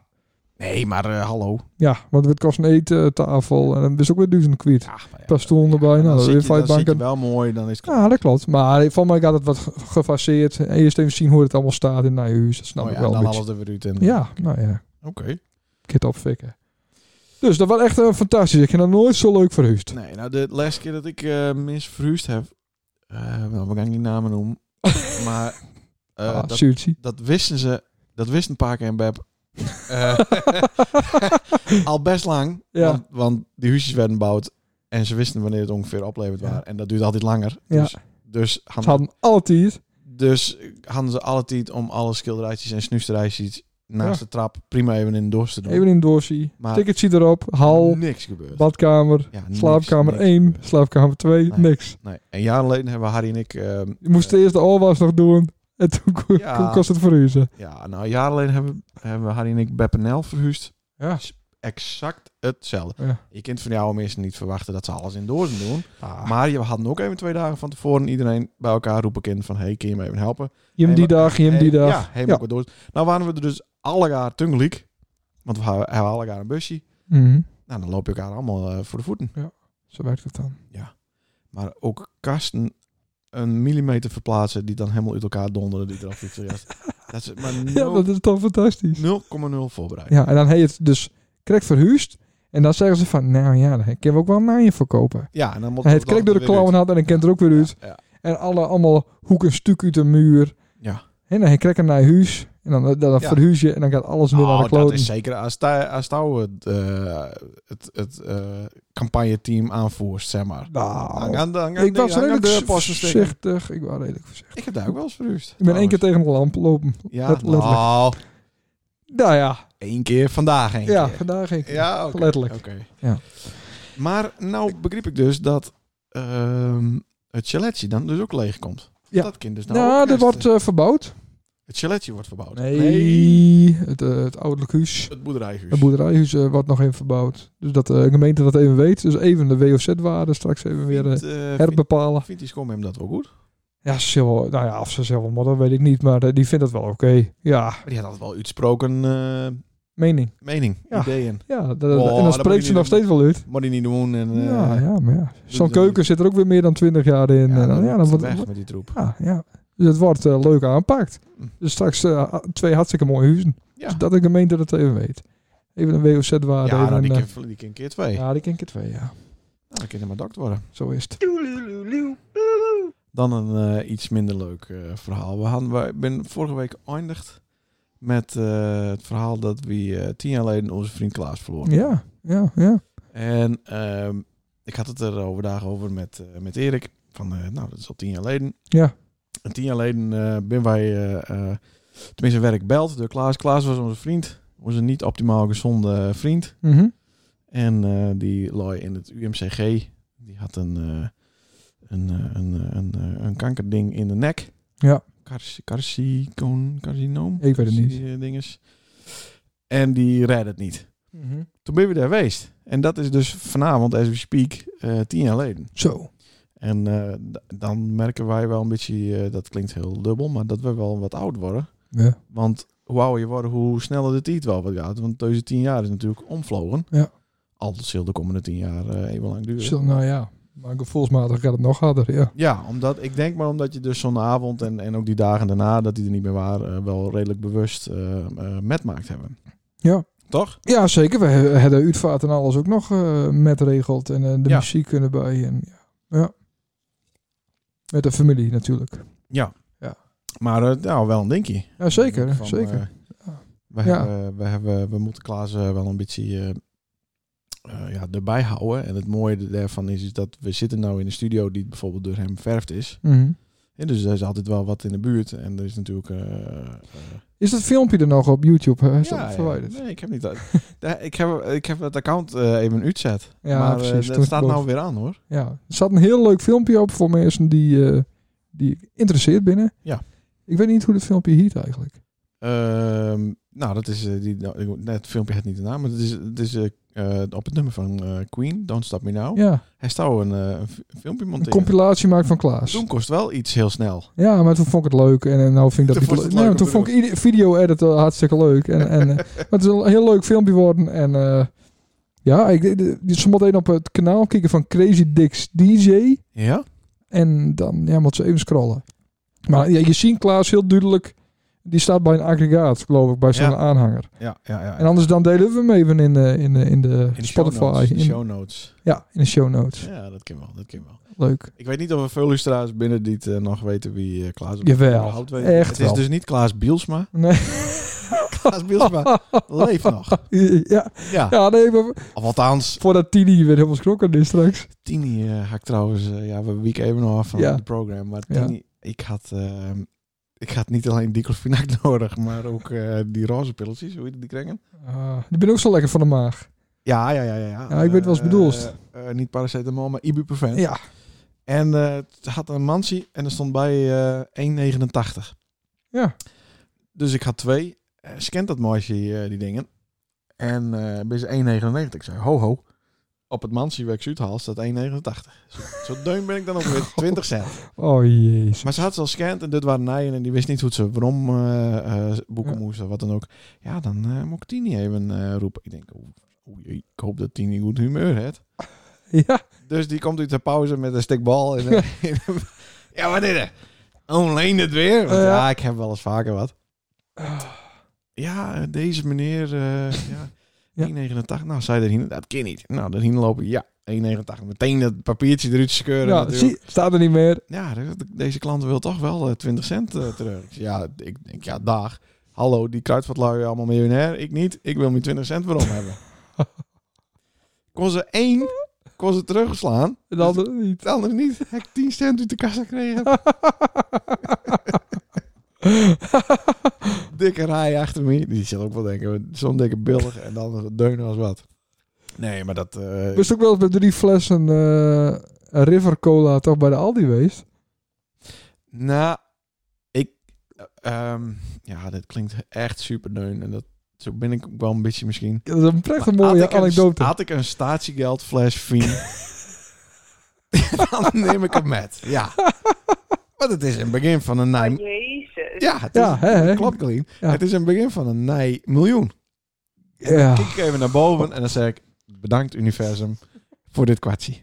Nee, maar eh, hallo.
Ja, want het kost een eettafel. En dan is ook weer duizend kwijt.
Ja, Ah, maar ja,
Pas toen erbij. Nou,
dan
dan
zit
weer
je-
vijf
dan zit je
banken.
wel mooi, dan is het
Ja, dat klopt. Maar voor mij gaat het wat ge- gefaseerd. Eerst even zien hoe het allemaal staat in je huis. Dat snap
mooi.
ik
Oh
wel
Ja, dan
een beetje.
alles er weer uit. En,
Ja, nou ja.
Oké.
Kit opfikken. Dus dat was echt eh, fantastisch. Ik heb dat nooit zo leuk verhuisd.
Nee, nou de laatste keer dat ik eh mis verhuisd heb, eh, nou, we gaan niet namen *laughs* noemen, maar eh,
ah,
dat,
Suzy.
*laughs* dat wisten ze, dat wisten een paar keer in
*laughs*
Beb. Eh, al best lang,
Ja.
want, want die huisjes werden gebouwd en ze wisten wanneer het ongeveer opleverd
Ja.
waren en dat duurde altijd langer.
Ja.
Dus, dus,
Ze
hadden,
hadden altijd...
dus hadden ze alle tijd om alle schilderijtjes en snoesterijtjes naast
Ja.
de trap prima even in de doos te doen.
Even in doorsie.
Maar-
Ticketje erop. Hal.
Niks gebeurd.
Badkamer,
Ja, niks,
slaapkamer
niks
1,
gebeurd.
slaapkamer 2,
Nee.
niks.
Nee. Een jaar geleden hebben Harry en ik ehm,
Je moest eerst de oorwas nog doen en toen ko-
Ja.
toen kost het verhuizen.
Ja, nou, een jaar geleden hebben, hebben we Harry en ik Beppenel verhuisd.
Ja.
Exact hetzelfde.
Ja.
Je kunt van die oude mensen niet verwachten dat ze alles in dozen doen.
Ah.
Maar je hadden ook even twee dagen van tevoren iedereen bij elkaar roepen kind van... hey, kun je me even helpen?
Jim
Hey,
die
maar-
dag, Jim
Hey,
die dag.
Ja, helemaal wat dozen. Nou waren we er dus allegaar tungeliek. Want we hebben hebben allegaar een busje.
Mhm.
Nou, dan loop je elkaar allemaal eh, voor de voeten.
Zo werkt het dan. *laughs*
Maar ook kasten een millimeter verplaatsen... die dan helemaal uit elkaar donderen. Die eraf
*laughs*
iets Dat is maar
Ja, dat is toch fantastisch.
0,0 voorbereid.
Ja, en dan heet het dus krek verhuisd. En dan zeggen ze van, nou ja, dan kunnen we ook wel een naaier verkopen.
Ja, en dan moet
Hij heeft
dat
krek door de
weer uit.
klauwen had en dan kent er ook weer uit.
Ja, ja.
En alle, allemaal hoeken stuk uit de muur.
Ja.
En dan krek hem naar huis. En dan, dan, dan
Ja.
verhuis je en dan gaat alles weer naar de
Nou, dat
kloten.
is zeker als, Tau- als Tau het, eh, het, het eh campagne-team aanvoert, zeg maar.
Nou,
Dan gaan- dan gaan
ik
die-
was
dan gaan
redelijk
de posten steken.
voorzichtig. Ik was redelijk voorzichtig.
Ik heb daar ook wel eens verhuurd.
Ik ben één keer tegen de lamp lopen.
Ja,
let- letterlijk.
nou,
Nou ja,
één keer vandaag één
ja
keer.
vandaag ging
Ja, oké.
Letterlijk.
oké.
Ja.
Maar nou begreep ik dus dat ehm, het chaletje dan dus ook leeg komt.
Ja.
Dat kind dus nou
Nou,
ook
er
kerst-
wordt eh, verbouwd.
Het chaletje wordt verbouwd.
Nee, Het, eh, het ouderlijk huis.
Het boerderijhuis.
Het boerderijhuis eh, wordt nog even verbouwd. Dus dat de gemeente dat even weet. Dus even de WOZ-waarde straks even weer eh,
Vindt, eh, vindt-
herbepalen.
vindt die schoonmaak hem dat wel goed?
Ja, ze zullen wel- nou ja, of ze zelf wel modder, weet ik niet. Maar eh, die vindt dat wel oké. Ja,
Maar die had altijd wel uitsproken eh,
mening.
mening,
Ja.
ideeën.
Ja, dat-
Oh,
en dan
dat moet
spreekt
je
ze
niet
nog
doen.
steeds wel uit.
Moet hij niet doen. En, eh,
ja, ja, maar ja.
doe
Zo'n
het dan
keuken
niet.
zit er ook weer meer dan twintig jaar in.
ja,
en dan, ja, dan wordt,
weg met die troep.
Ja, ja. Dus het wordt eh, leuk aangepakt.
Hm.
Dus straks eh, twee hartstikke mooie huizen.
Ja.
Dus dat de gemeente dat even weet. Even een WOZ-waarde.
ja,
even
nou,
een,
die,
eh,
kan, die kan keer twee.
ja, die ken ik er twee, ja.
Nou, dan kan hij maar dokter worden.
Zo is het.
Dan een eh, iets minder leuk eh, verhaal. We hadden, we, ik ben vorige week eindigd met eh, het verhaal dat we eh, tien jaar geleden onze vriend Klaas verloren.
Ja, ja, ja.
En ehm, ik had het er overdag over met, eh, met Erik. Van, eh, nou, dat is al tien jaar geleden.
Ja.
En tien jaar geleden eh, ben wij, eh, eh, tenminste werk belt door Klaas. Klaas was onze vriend. Onze niet optimaal gezonde vriend.
Mhm.
En eh, die looi in het UMCG. Die had een, eh, een, eh, een, eh, een, eh, een kankerding in de nek.
Ja.
Carci- Carcicon, carcinoom?
Ik weet het niet.
Carci- eh, Dinges. En die redde het niet. Toen ben we daar geweest. En dat is dus vanavond, as we speak, eh, tien jaar geleden.
Zo.
En eh, d- dan merken wij wel een beetje, eh, dat klinkt heel dubbel, maar dat we wel wat oud worden.
Ja.
Want hoe ouder je wordt, hoe sneller de tijd wel wat gaat. Want deze tien jaar is natuurlijk omvlogen.
Ja.
Al zal de komende tien jaar eh, even lang duren.
Zo, nou ja. Maar gevoelsmatig gaat het nog harder, ja.
Ja, omdat ik denk maar omdat je dus zo'n avond en, en ook die dagen daarna, dat die er niet meer waren, eh, wel redelijk bewust eh, eh, met maakt hebben.
Ja.
Toch?
Ja, zeker. We he- hebben uitvaart en alles ook nog eh met regeld. En eh, de
Ja.
muziek kunnen bij. En, ja. ja. Met de familie natuurlijk.
Maar eh, nou, wel een dingetje.
Ja, zeker.
Van,
zeker.
eh,
Ja.
we,
Ja.
hebben, we, hebben, we moeten Klaas eh, wel een beetje eh, eh, ja, erbij houden. En het mooie daarvan is, is dat we zitten nou in een studio die bijvoorbeeld door hem verfd is.
Mhm.
En dus er is altijd wel wat in de buurt. En er is natuurlijk... eh, eh,
Is dat filmpje er nog op YouTube? Hè? Is
ja,
dat
ja.
verwijderd?
Nee, ik heb niet... dat- *laughs* Daar- ik, heb, ik heb het account eh, even uitzet.
Ja,
maar eh,
precies.
dat
Toen-
staat nou weer aan hoor.
Ja, er zat een heel leuk filmpje op voor mensen die, eh, die interesseerd binnen.
Ja.
Ik weet niet hoe dat filmpje heet eigenlijk.
Ehm, nou, dat is eh, die, nou, ik- net het filmpje heeft niet de naam, maar het is, het is eh, eh, op het nummer van eh, Queen, Don't Stop Me Now.
Ja,
Hij zou een, eh, een fi- een filmpje
een
monteren.
compilatie maakt van Klaas.
Toen kost wel iets heel snel.
Ja, maar toen vond ik het leuk. En, en nou vind ik dat
Toen
niet
vond je
leuk.
het
Nee,
leuk
maar toen
om
vond
te
ik ieder video-editor hartstikke leuk. En,
*laughs*
en, eh, maar het is een heel leuk filmpje geworden. En eh, ja, ik, de- de- ze moet even op het kanaal kijken van Crazy Dicks DJ.
Ja?
En dan ja, moet ze even scrollen. Maar ja, je ziet Klaas heel duidelijk. Die staat bij een aggregaat, geloof ik, bij zo'n
Ja.
aanhanger.
Ja, ja, ja.
En anders dan delen we hem even in de, in de, in de
in de
Spotify.
Show notes, in de
in-
show notes.
ja, in de show notes.
Ja, dat kan wel, dat kan wel.
Leuk.
Ik weet niet of er veel luisteraars binnen die het eh, nog weten wie eh, Klaas
Jawel,
überhaupt weet.
echt
Het is
wel.
dus niet Klaas Bielsma.
Nee.
*laughs* Klaas Bielsma leeft nog.
*laughs* ja,
Ja,
ja, nee, maar
althans,
voordat Tini weer helemaal schrokken is straks.
Tini eh hak trouwens, eh, ja, we wieken even nog af van
Ja.
het programma. Maar
Ja.
Tini, ik had, eh, ik had niet alleen diclofenac *laughs* nodig, maar ook eh, die roze pilletjes, hoe heet die kringen?
Ah, die ben ook zo lekker van de maag.
Ja, ja, ja, ja. Ja,
Ja, ik weet wat ze
Eh,
bedoelt.
eh, niet paracetamol, maar ibuprofen.
Ja.
En eh, het had een mansie en er stond bij eh 1,89.
Ja.
Dus ik had twee. Eh, Ze kent dat meisje, eh, die dingen. En eh bij ze 1,99. Ik zei, ho ho. Op het mansie waar ik ze uithaal staat 1,89. Zo, zo *laughs* deun ben ik dan ook
*laughs*
weer 20 cent.
Oh jezus.
Maar ze had ze al scant en dit waren nijen en die wist niet hoe ze waarom eh, eh, boeken
Ja.
moest of wat dan ook. Ja, dan eh moet ik Tini even eh, roepen. Ik denk, oeh, oei, ik hoop dat Tini goed humeur heeft.
Ja,
Dus die komt uit de pauze met een stuk bal. En,
*laughs*
eh, ja, wat is er? Alleen het weer? Want
Oh, Ja.
ja, ik heb wel eens vaker wat. Ja, deze meneer, eh ja,
*laughs* Ja.
1,89. Nou, zei dat hier, dat kan niet. Nou, dat hier lopen, ja, 1,89. Meteen dat papiertje eruit scheuren
ja zie,
natuurlijk.
staat er niet meer.
Ja, de- de- deze klant wil toch wel eh, 20 cent eh, terug. Ik zeg, Ja, ik denk, ja, dag. Hallo, die kruidvatlui allemaal miljonair. Ik niet. Ik wil mijn 20 cent waarom
*laughs*
hebben. Kon ze één, kon ze terugslaan.
En de andere niet. *laughs*
Het andere niet. Heb ik 10 cent uit de kassa gekregen. *laughs* dikke rij achter me. Die zal ook wel denken, zo'n dikke billig en dan deunen als wat. Nee, maar dat... eh,
Was ook wel eens met drie flessen eh, River Cola toch bij de Aldi geweest?
Nou, ik. ehm, ja, dit klinkt echt super neun. En dat, zo ben ik ook wel een beetje misschien.
Ja, dat is een prachtig
Maar
mooie
had ik een-
anekdote.
had ik een statiegeld flash *laughs* fiend. dan neem ik hem met. Ja. Want het is een begin van een nij.
Jezus.
Ja, het is,
Ja, hè, hè?
klopt, Colleen.
Ja.
Het is een begin van een nij miljoen.
Ja.
Kijk ik even naar boven en dan zeg ik: Bedankt, universum, voor dit
*laughs*
kwartje.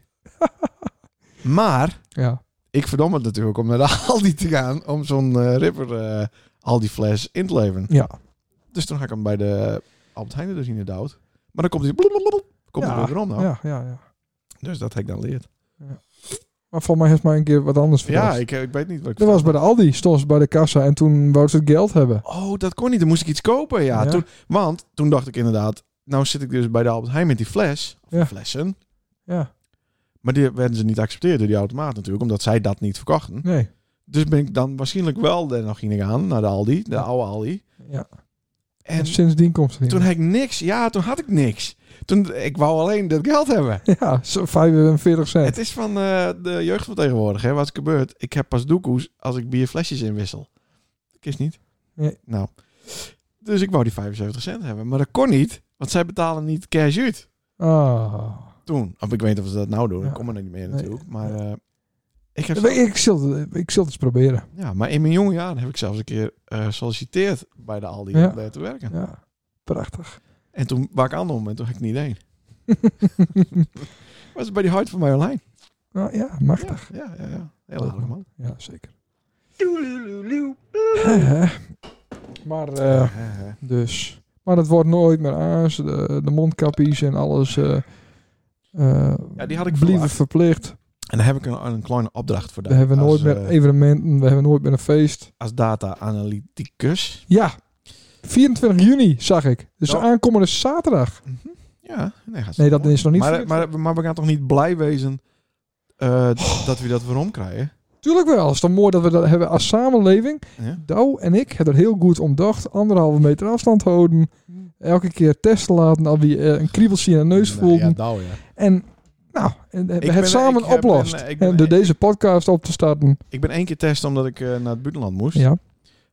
Maar
ja.
ik verdom het natuurlijk om naar de *laughs* Aldi te gaan om zo'n eh, Ripper eh, Aldi fles in te leveren.
Ja.
Dus toen ga ik hem bij de Albert Heijn er dus in de dood. Maar dan komt hij blablabla, komt hij
Ja,
er weer om nou.
ja, ja, ja.
Dus dat heb ik dan leerd.
Maar volgens mij heeft mij een keer wat anders verteld.
Ja, ik, ik weet niet wat ik
Dat was bij
vertelde.
de Aldi, stond ze bij de kassa en toen wou ze het geld hebben.
Oh, dat kon niet. Dan moest ik iets kopen. Ja,
Ja.
Toen, want toen dacht ik inderdaad, nou zit ik dus bij de Albert Heijn met die fles. Of
Ja.
flessen.
Ja,
Maar die werden ze niet accepteerd door die automaat natuurlijk, omdat zij dat niet verkochten.
nee.
Dus ben ik dan waarschijnlijk wel er nog in gaan naar de Aldi, de
Ja.
oude Aldi.
Ja. En,
En
sindsdien komt ze niet
Toen
meer.
had ik niks. Ja, toen had ik niks. Toen, ik wou alleen dat geld hebben.
*laughs* Ja, zo 45 cent.
Het is van eh, de jeugd van tegenwoordig, hè, wat is gebeurd. Ik heb pas doekoes als ik bierflesjes inwissel. Ik is niet.
Nee.
Nou. Dus ik wou die 75 cent hebben, maar dat kon niet. Want zij betalen niet cash uit
Oh.
toen. Of ik weet niet of ze dat nou doen.
Ja.
Ik kom er niet meer
Nee.
natuurlijk. Maar eh, ik heb...
Ik, ik, zal, het- ik zal het eens proberen.
Ja, maar in mijn jonge jaren heb ik zelfs een keer eh solliciteerd bij de Aldi
Ja.
om daar te werken.
Ja. Prachtig.
En toen waar ik aan om en toen had ik niet één. Was bij die hart van mij online.
Nou, ja, machtig.
Ja, ja, ja. ja. Heel aardig man.
Ja, zeker. Hè, hè. maar, eh,
Eh, eh.
dus. Maar het wordt nooit meer aans. De, de mondkapjes en alles. eh eh,
Ja, die had ik
Blieven
verwacht.
verplicht.
En daar heb ik een, een kleine opdracht voor.
We
daar.
hebben
Als,
nooit meer
eh,
evenementen. We hebben nooit meer een feest.
als data-analyticus.
Ja. 24 juni zag ik. Dus
Nou.
aankomende zaterdag.
Ja, nee, gaat
Nee, dat is nog niet.
maar,
verkeerd.
maar, maar we gaan toch niet blij wezen eh, dat we dat weer omkrijgen?
Tuurlijk wel. Het is dan mooi dat we dat hebben als samenleving.
Ja.
Douw en ik hebben er heel goed om dacht. Anderhalve meter afstand houden.
Hm.
Elke keer testen laten. Al wie eh, een kriebeltje in de neus
Nou,
voelt.
Ja, nou ja.
En nou, en hebben
Ik
het
ben-
samen
ik, eh,
oplost.
ben, eh, ik
en
ben-
door deze podcast op te starten.
Ik ben één keer testen omdat ik eh, naar het buitenland moest.
Ja,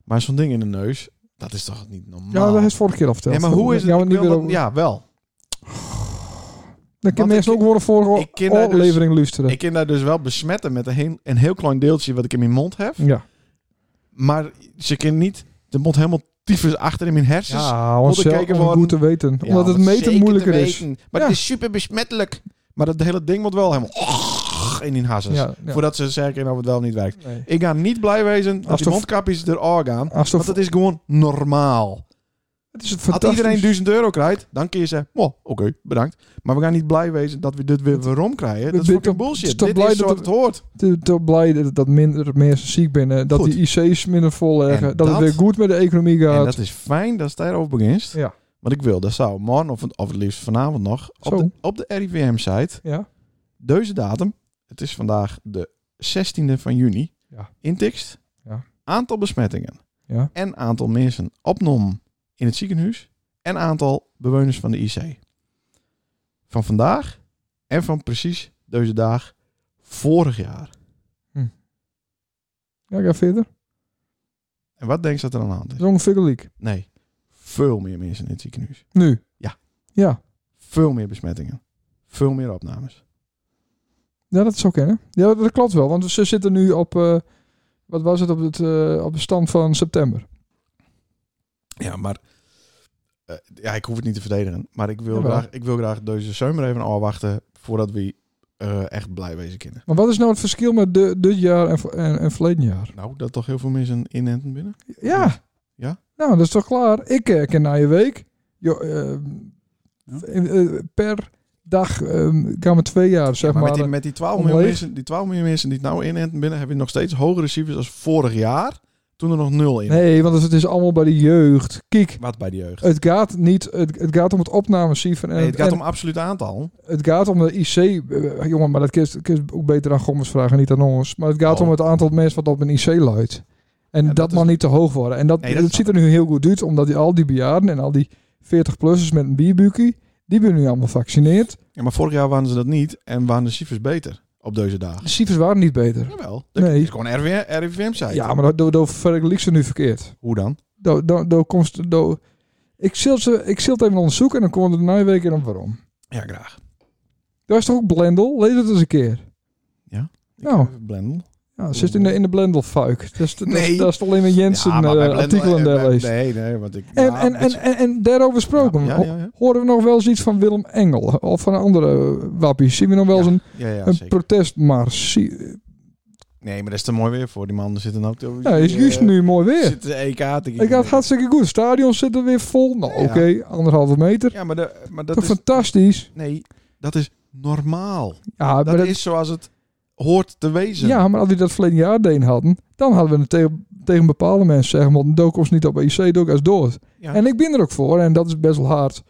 Maar zo'n ding in de neus, dat is toch niet
ja
normaal?
dat is vorige keer al verteld.
Nee, maar hoe is het?
Ja,
ik
niet
wil
weer
dat-
op-
ja, wel.
Dan kan
want
mensen
ik-
ook worden
ik
vorige
ken daar dus-
aflevering luisteren.
Ik kan daar dus wel besmetten met een heel, een heel klein deeltje wat ik in mijn mond heb.
ja.
Maar ze kan niet de mond helemaal tyfus achter in mijn hersens.
Ja, want
moeten
zelf
kijken
om
worden-
goed te weten.
Ja,
Omdat
om
het meten
zeker
moeilijker
te
is.
weten. Maar
Ja.
het is super besmettelijk. Maar dat hele ding wordt wel helemaal *laughs* in hun hazes.
Ja, ja.
Voordat ze zeggen of het wel of niet werkt.
Nee.
Ik ga niet blij wezen dat
Als
die
de-
mondkapjes er gaan. Want
Alsof,
dat is gewoon normaal.
het is het
Als
fantastisch.
iedereen 1000 euro krijgt, dan kun je zeggen, "Mo, oké, bedankt. Maar we gaan niet blij wezen dat we dit weer waarom krijgen. Dat is
ben
fucking
toch-
bullshit.
is toch
Dit
blij
is
dat
zoals
het-
het hoort.
te, te blij dat, dat minder mensen ziek binnen, dat
dus- Goed.
die IC's minder vol liggen,
En
dat het
dat-
weer goed met de economie
En
gaat.
dat is fijn dat je daarover begint.
Ja.
Want ik wil, dat zou morgen of, of het liefst vanavond nog,
Zo.
op de, op de RIVM-site,
ja.
deze datum, het is vandaag de 16e van juni,
Ja.
intikst,
Ja.
aantal besmettingen
Ja.
en aantal mensen opnom in het ziekenhuis en aantal bewoners van de IC. Van vandaag en van precies deze dag vorig jaar.
ja, ik ga verder.
En wat denk je dat er aan de hand
Dat
is?
is ongeveer gelijk.
Nee, veel meer mensen in het ziekenhuis.
Nu.
Ja.
Ja.
Veel meer besmettingen. Veel meer opnames.
Ja, dat is ook hè. Ja, dat klopt wel. Want ze zitten nu op, eh, wat was het, op, het, eh, op de stand van september.
Ja, maar... eh, ja, ik hoef het niet te verdedigen. Maar ik wil,
Jawel.
graag, ik wil graag deze zomer even afwachten... voordat we eh, echt blij wezen kunnen.
Maar wat is nou het verschil met de, dit jaar en, en, en verleden jaar?
Nou, dat toch heel veel mensen inenten binnen?
Ja.
Ja?
Nou, dat is toch klaar. Ik eh, ken na je week. Jo, eh,
Ja.
eh, per dag eh, gaan we twee jaar, zeg
Ja, maar,
maar.
met, die,
eh,
met die 12 miljoen
omleeg.
mensen, die 12 miljoen mensen die het nou inenten binnen... hebben we nog steeds hogere cijfers als vorig jaar... toen er nog nul in.
Nee, want het is allemaal bij de jeugd. Kijk,
Wat bij de jeugd.
het gaat niet. Het, het gaat om het opnamecijfer. En,
Nee, het gaat
en
om absoluut aantal.
het gaat om de IC. eh, jongen, maar dat kun je- kun je ook beter aan Gommers vragen, niet aan ons. Maar het gaat
Oh.
om het aantal mensen wat op een IC luidt. En
Ja,
dat,
dat is-
mag niet te hoog worden. En dat,
Nee, dat
dat,
snap
ziet er nu heel goed uit, omdat die, al die bejaarden en al die 40-plussers met een bierbukie, die zijn nu allemaal gevaccineerd.
Ja, maar vorig jaar waren ze dat niet en waren de cijfers beter op deze dagen.
De cijfers waren niet beter.
Jawel. Dat
Nee.
is gewoon RIVM-site.
Ja, maar dat dat vergelijk ze nu verkeerd.
Hoe dan?
Dat dat- dat komt dat- ik zil ze ik zil het even onderzoeken en dan komen we de naaiweek en waarom.
Ja, graag.
Dat is toch ook Blendel? Lees het eens een keer.
Ik
Nou.
heb even Blendel.
Ja, het zit in de, in de Blendel-fuik. Dat is, dat,
Nee.
is- dat is alleen maar Jensen
Ja, maar bij
eh,
Blendel-
artikelen
eh,
daar leest.
Nee, nee, want ik...
En,
ja,
en, en,
het-
en, en daarover gesproken,
Ja, ja, ja, ja.
horen we nog wel eens iets van Willem Engel eh, of van een andere wappie? Zien we nog wel eens een,
Ja, ja,
een
zeker.
protestmars? Zie-
Nee, maar dat is te mooi weer voor. Die man zitten ook... te-
Ja, is
eh,
juist nu mooi weer.
Zitten de EK E te
Ik had het hartstikke goed. Stadion zit er weer vol. Nou,
Ja.
oké, anderhalve meter.
Ja, maar, de, maar dat
Toch
is...
fantastisch.
Nee, dat is normaal.
Ja, maar
Dat,
dat-
is zoals het hoort te wezen.
ja, maar als die dat verleden jaar deen hadden, dan hadden we het tegen, tegen bepaalde mensen zeggen, want dook ons niet op IC, dook als dood.
Ja.
En ik ben er ook voor, en dat is best wel hard.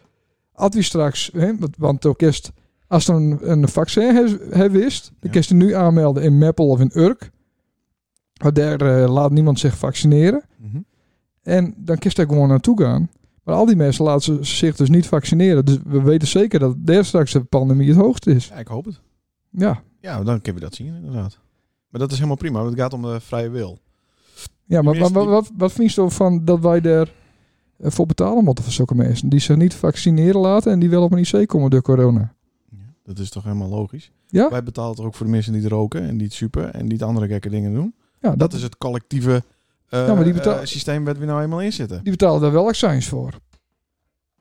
Als die straks, hè, want, want ook is, als er een, een vaccin he- he wist, dan
Ja.
kun je die nu aanmelden in Meppel of in Urk. Maar daar eh, laat niemand zich vaccineren.
Mhm.
En dan kun je daar gewoon naartoe gaan. Maar al die mensen laten ze zich dus niet vaccineren. Dus we weten zeker dat daar straks de pandemie het hoogst is.
Ja, ik hoop het.
Ja.
Ja, dan kunnen we dat zien inderdaad. Maar dat is helemaal prima, want het gaat om de vrije wil.
Ja, maar
Die
wat,
meeste-
wat, wat, wat vind je zo van dat wij daar eh, voor betalen moeten voor zulke mensen. Die zich niet vaccineren laten en die wel op een IC komen door corona.
Ja, dat is toch helemaal logisch?
Ja.
Wij betalen toch ook voor de mensen die roken en die het super en die het andere gekke dingen doen?
Ja, dat,
Dat is het collectieve eh,
Ja, maar die betaal-
eh, systeem waar we nou eenmaal in zitten.
die betalen daar wel accijns voor.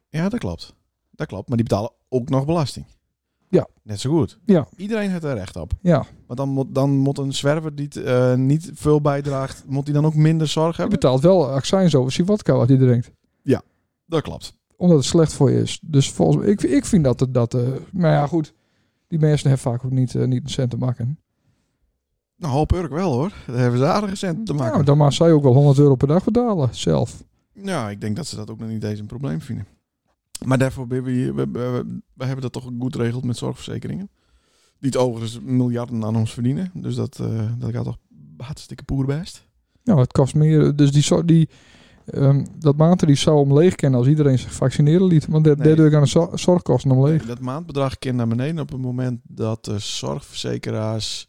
Ja, dat klopt. Dat klopt, maar die betalen ook nog belasting.
Ja.
Net zo goed.
Ja.
Iedereen heeft er recht op.
Ja,
Maar dan moet, dan moet een zwerver die het, eh, niet veel bijdraagt, moet die dan ook minder zorg
die
hebben?
betaalt wel accijns over zijn vodka wat hij drinkt.
Dat klopt.
Omdat het slecht voor je is. Dus volgens mij, ik, ik vind dat het- dat. eh, maar ja, goed. Die mensen hebben vaak ook niet, eh, niet een cent te maken.
Nou, hoop Urk wel hoor. Daar hebben ze aardige centen te
Ja,
maken.
maar
Ja,
dan mag zij ook wel 100 euro per dag betalen zelf.
ik denk dat ze dat ook nog niet eens een probleem vinden. Maar daarvoor hebben we, hier- we, we- we hebben dat toch goed geregeld met zorgverzekeringen. Die het overigens miljarden aan ons verdienen. Dus dat, eh, dat gaat toch hartstikke poer best.
Nou, het kost meer. Dus die, zo- die, ehm, dat maand die zou omleeg kennen als iedereen zich vaccineren liet. Want da-
Nee.
daardoor gaan de zor- zorgkosten omleeg.
Dat maandbedrag kan naar beneden op het moment dat de zorgverzekeraars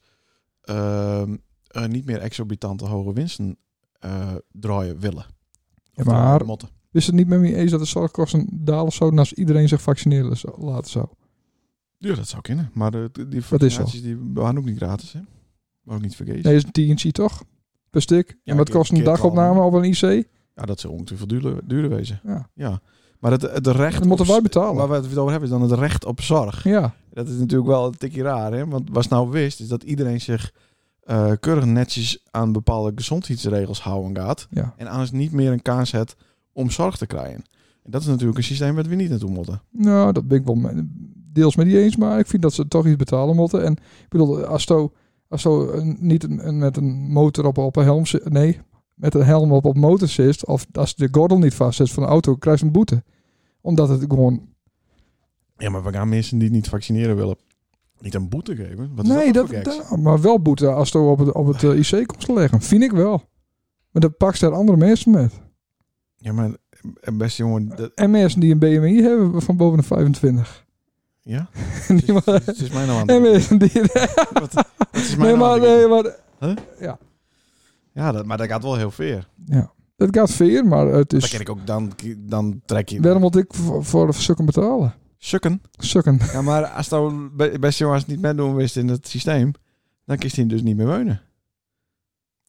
ehm, eh, niet meer exorbitante hoge winsten eh, draaien willen. Of
Maar-
draaien motten.
Is het niet met me eens dat de zorgkosten dalen of zo als iedereen zich vaccineren zou- laten zou?
Ja, dat zou kunnen. Maar de, de- die
Dat is zo.
vaccinaties die waren ook niet gratis, hè? Maar ook niet vergeten.
Nee, is een TNC toch? Per stuk.
Ja,
en wat
keer-
kost een
keer
dagopname op een IC?
Ja, dat zou ongetwijfeld duurder, duurder wezen.
Ja.
Ja. Maar het, het recht...
Dat moeten
op-
wij betalen.
Waar we het over hebben is dan het recht op zorg.
Ja,
Dat is natuurlijk wel een tikje raar, hè? Want wat ze nou wist, is dat iedereen zich eh, keurig netjes aan bepaalde gezondheidsregels houden gaat.
ja.
En anders niet meer een kans heeft om zorg te krijgen. En dat is natuurlijk een systeem waar we niet naartoe moeten.
Nou, dat ben ik wel me- deels met die eens, maar ik vind dat ze toch iets betalen moeten. En ik bedoel, als zo, als zo een- niet een, een- met een motor op, op een helm zit, nee, met een helm op op motor zit, of als de gordel niet vast zit van de auto, krijg je een boete. Omdat het gewoon.
Ja, maar we gaan mensen die het niet vaccineren willen niet een boete geven. Wat is
nee,
dat, nou voor geks?
daar- maar wel boete als het op het, op het eh, IC komt te leggen. Vind ik wel. Maar dan pak je daar andere mensen met.
Ja, maar eh, beste jongen, dat,
En mensen die een BMI hebben van boven de 25. *laughs*
ja?
Die
Het
maar- *laughs*
is, het is mij nou aan
en
het
mensen die.
*laughs* Wat- het is mij
Nee,
nou aan
maar.
het
Nee, maar
Ja, dat, maar dat gaat wel heel ver.
het gaat veer, maar het
Dan
is.
ken ik ook, dan, dan trek je...
Dus- Daarom moet ik voor, voor sukken betalen.
Sukken.
Sukken. *laughs*
Ja, maar als nou be- beste jongens het niet meedoen wist in het systeem, dan kiest hij dus niet meer wonen.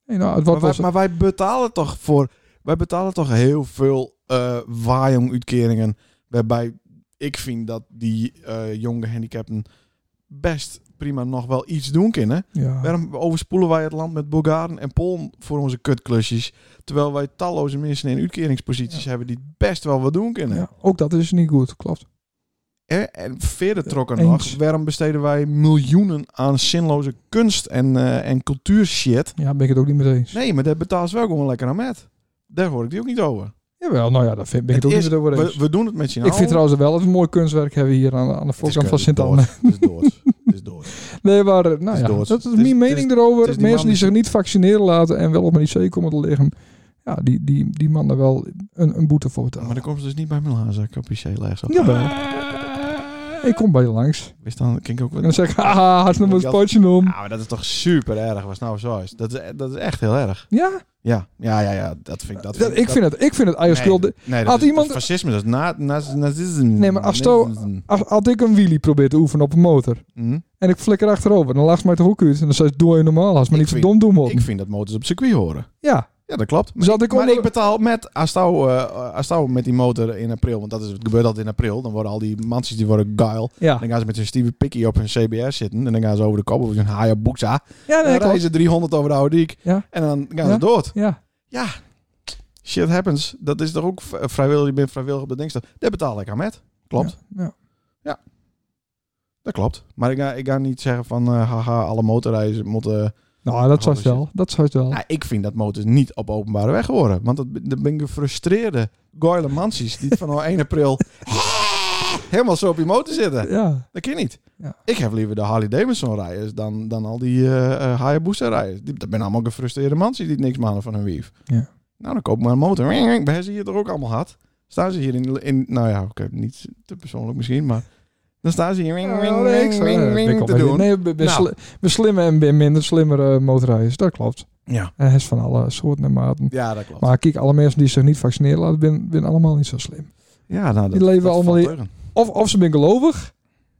Hey, nou, het
Maar
wat
wij,
was
maar wij betalen toch voor... Wij betalen toch heel veel eh waaiong-uitkeringen, waarbij ik vind dat die eh, jonge gehandicapten best prima nog wel iets doen kunnen.
Ah. ja.
Waarom overspoelen wij het land met Bulgaren en Polen voor onze kutklusjes? Terwijl wij talloze mensen in uitkeringsposities
Ja.
hebben die best wel wat doen kunnen.
ja, ook dat is niet goed, klopt.
En, Eh, en verder trokken
Eens.
nog, waarom besteden wij miljoenen aan zinloze kunst en, eh, en cultuurshit?
Ja, ben ik het ook niet mee eens.
Nee, maar daar betaalt ze wel gewoon lekker aan met. Daar hoor ik die ook niet over.
Jawel, nou ja, daar vind, ben ik het, ook
is-
niet mee over eens.
we, we doen het met z'n
ik vind trouwens wel dat we mooi kunstwerk hebben hier aan, aan de
Het is
voorkant van
kut, het
sint
is
anne
dood, Het is
*laughs*
dood. Het is dood.
Nee, maar eh,
Het
nou
is
ja,
dood.
dat is
Het is-
mijn
het
mening
is-
erover.
het is die
Mensen
man
die
die-
zich niet vaccineren laten en wel op een IC komen te liggen. Ja, die, die, die mannen wel een, een boete voor betalen.
Maar dan komt ze dus niet bij Milaan, zou ik op je lijst op.
Jawel. Ik kom bij je langs.
Wist dan, kink ook
En
wat.
dan zeg ik, *laughs* haha, had nog een
Ja.
potje om.
Nou, maar dat is toch super erg, was nou zo is. Dat is, dat is echt heel erg.
Ja,
Ja, ja, ja, ja dat vind ik. Dat
dat- ik vind het, ik vind het
nee,
eigenlijk wel-
Nee, dat
Had
is,
iemand-
dat is fascisme, dat is na, naz- nazisme.
Nee, maar als to-
Nazisme.
Als, had ik een wheelie probeer te oefenen op een motor.
Hm?
En ik flikker achterover. Dan lacht ze mij de hoek uit. En dan zei ze, doe je normaal. Als maar
Ik
niet zo
vind-
dom doen
Ik
moet.
vind dat motors op circuit horen.
Ja.
Ja, dat klopt. Maar,
Dus had Oh. ik
maar
onder...
ik betaal met Astau, eh Astau met die motor in april. Want dat is, het gebeurt altijd in april. Dan worden al die mansies die worden geil.
Ja.
Dan gaan ze met hun Steve Picky op hun CBS zitten. En dan gaan ze over de kop op hun Hayabusa.
Ja,
En dan
nee,
rijden
klopt.
ze 300 over de oude diek.
Ja.
En dan gaan
Ja.
ze dood.
Ja.
Shit happens. Dat is toch ook v- vrijwillig. Je bent vrijwillig op de dingstaf. Daar betaal ik aan met. Klopt.
Ja. ja.
Dat klopt. Maar ik ga, ik ga niet zeggen van, eh, haha, alle motorrijders moeten...
Nou, dat zou
Holy
het wel. Dat zou het wel.
Nou, ik vind dat motors niet op openbare weg horen. Want dat, dat ben ik gefrustreerde goile mansies die vanaf *laughs*
*laughs*
1 april helemaal zo op je motor zitten.
Ja.
Dat kan niet.
Ja.
Ik heb liever de Harley Davidson rijders dan, dan al die eh eh, Hayabusa rijders. Die, dat zijn allemaal gefrustreerde mansies die het niks maken van hun wief.
Ja.
Nou, dan koop ik maar een motor. We hebben ze hier toch ook allemaal gehad. Staan ze hier in... in nou ja, oké, niet te persoonlijk misschien, maar... Dan staan ze hier ring, ring,
Ja,
ring,
ik zou-
ring,
eh, ben ik
ring
al
te
bij-
doen.
Nee, we
Nou.
slimmer en ben minder slimmere motorrijders. Dat klopt.
Ja.
En hij is van alle soorten en maten.
ja, dat klopt.
Maar kijk, alle mensen die zich niet vaccineren laten, ben, ben allemaal niet zo slim.
ja, nou, dat,
Die leven
dat
allemaal
valt
in-
tegen.
Of, of ze zijn gelovig,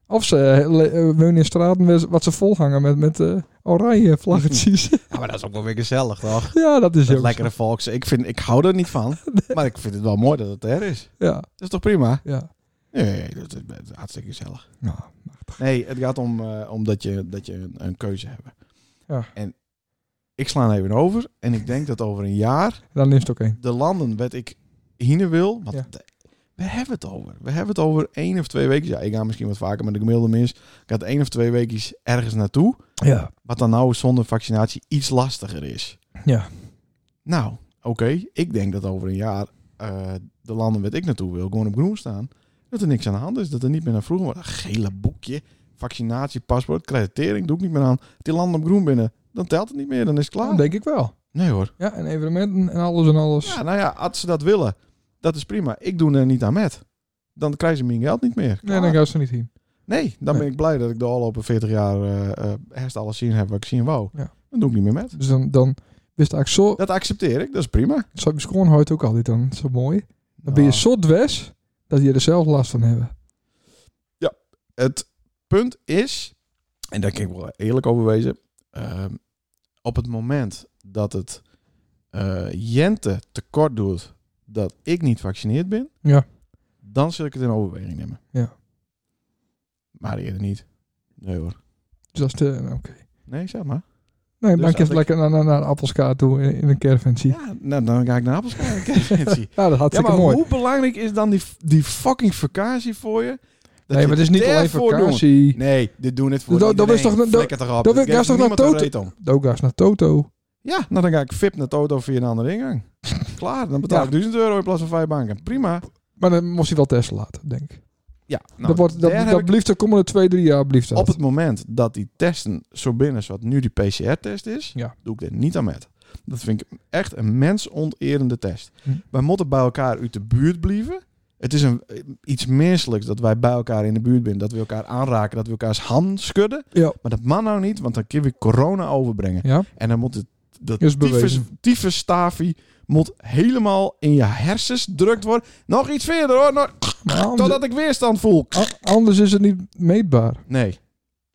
of ze eh, le- eh, wonen in straten waar ze- wat ze volhangen met, met eh, oranje
*laughs*
vlaggetjes.
Ja, maar dat is ook wel weer gezellig, toch?
ja, *laughs* dat is
Dat
ook
lekkere volks. Ik, vind, ik hou er niet van, maar ik vind het wel mooi dat het er is.
zo. Ja,
Dat is toch prima?
ja.
Nee, dat is dat is hartstikke gezellig.
Nou,
Nee, het gaat om, eh, om dat je, dat je een, een keuze hebt.
Ja.
En ik sla even over en ik denk dat over een jaar
dan is het ook één.
de landen wat ik heen wil. Want
Ja.
de- we hebben het over. We hebben het over één of twee weken. Ja, ik ga misschien wat vaker, maar de gemiddelde mens gaat één of twee weken ergens naartoe.
Ja.
Wat dan nou zonder vaccinatie iets lastiger is.
Ja.
Nou, oké. Ik denk dat over een jaar eh, de landen waar ik naartoe wil gewoon op groen staan. Dat er niks aan de hand is. Dat er niet meer naar vroeger wordt. Een gele boekje, vaccinatiepaspoort, creditering. Doe ik niet meer aan. Die landen op groen binnen. Dan telt het niet meer. Dan is het
Dat
klaar.
denk ik wel.
Nee hoor.
Ja, en evenementen en alles en alles.
Ja, nou ja, als ze dat willen, dat is prima. Ik doe er niet aan met. Dan krijgen ze mijn geld niet meer.
nee,
Klaar.
dan gaan ze niet heen.
nee, dan ben ik blij dat ik de afgelopen 40 jaar eh eh, herst alles zien heb wat ik zien wou.
Ja.
Dan doe ik niet meer met.
Dus dan, dan wist ik zo...
Dat accepteer ik, dat is prima.
Zo heb je schoonheid ook altijd dan. Zo mooi. Dan ben je
Nou,
zo dwes dat je er zelf last van hebben.
Het punt is, en daar kan ik wel eerlijk over wezen, ehm, op het moment dat het eh, Jente tekort doet dat ik niet vaccineerd ben,
Ja.
dan zul ik het in overweging nemen.
Ja.
Maar eerder niet. Nee hoor.
Dus dat is de... Oké.
Nee, zeg maar.
Nee,
Dus
maar ik heb
eigenlijk-
lekker naar, naar, naar de appelskaart toe in, in een caravan zie. Ja,
Ja, nou, dan ga ik naar
*laughs*
appels kijken. *laughs*
dat had
ja,
hartstikke
maar
mooi.
hoe belangrijk is dan die, die fucking vakantie voor je? Dat
nee, maar
je
het is niet alleen
daarvoor
vakantie.
doet? Nee, dit doen het voor
Dat- dat was
iedereen.
toch- dat-
Flikker toch
dat-
op. Dit
dat was
geeft
toch naar
niemand een reet om.
De Ook ga eens naar Toto.
Ja, nou dan ga ik fip naar Toto via een andere
*laughs*
ingang. Klaar, dan betaal
Ja.
ik 1000 euro in plaats van vijf banken. Prima.
Maar dan moest hij wel testen laten, denk ik.
Ja, nou,
dat wordt, dat,
daar heb
dat
ik-
blijft de komende twee, drie jaar blijft dat.
op het moment dat die testen zo binnen is wat nu die PCR-test is,
Ja.
doe ik er niet aan met. Dat vind ik echt een mensonterende test.
Hm.
Wij moeten bij elkaar uit de buurt blijven. Het is een, iets menselijks dat wij bij elkaar in de buurt zijn. Dat we elkaar aanraken, dat we elkaars hand schudden.
Ja.
Maar dat man nou niet, want dan kun je corona overbrengen.
Ja?
En dan moet het, dat
Is
tyfus,
bewezen.
tyfusstaafie moet helemaal in je hersens gedrukt worden. Nog iets verder hoor, nog-
Maar anders,
totdat ik weerstand voel.
a- anders is het niet meetbaar.
Nee.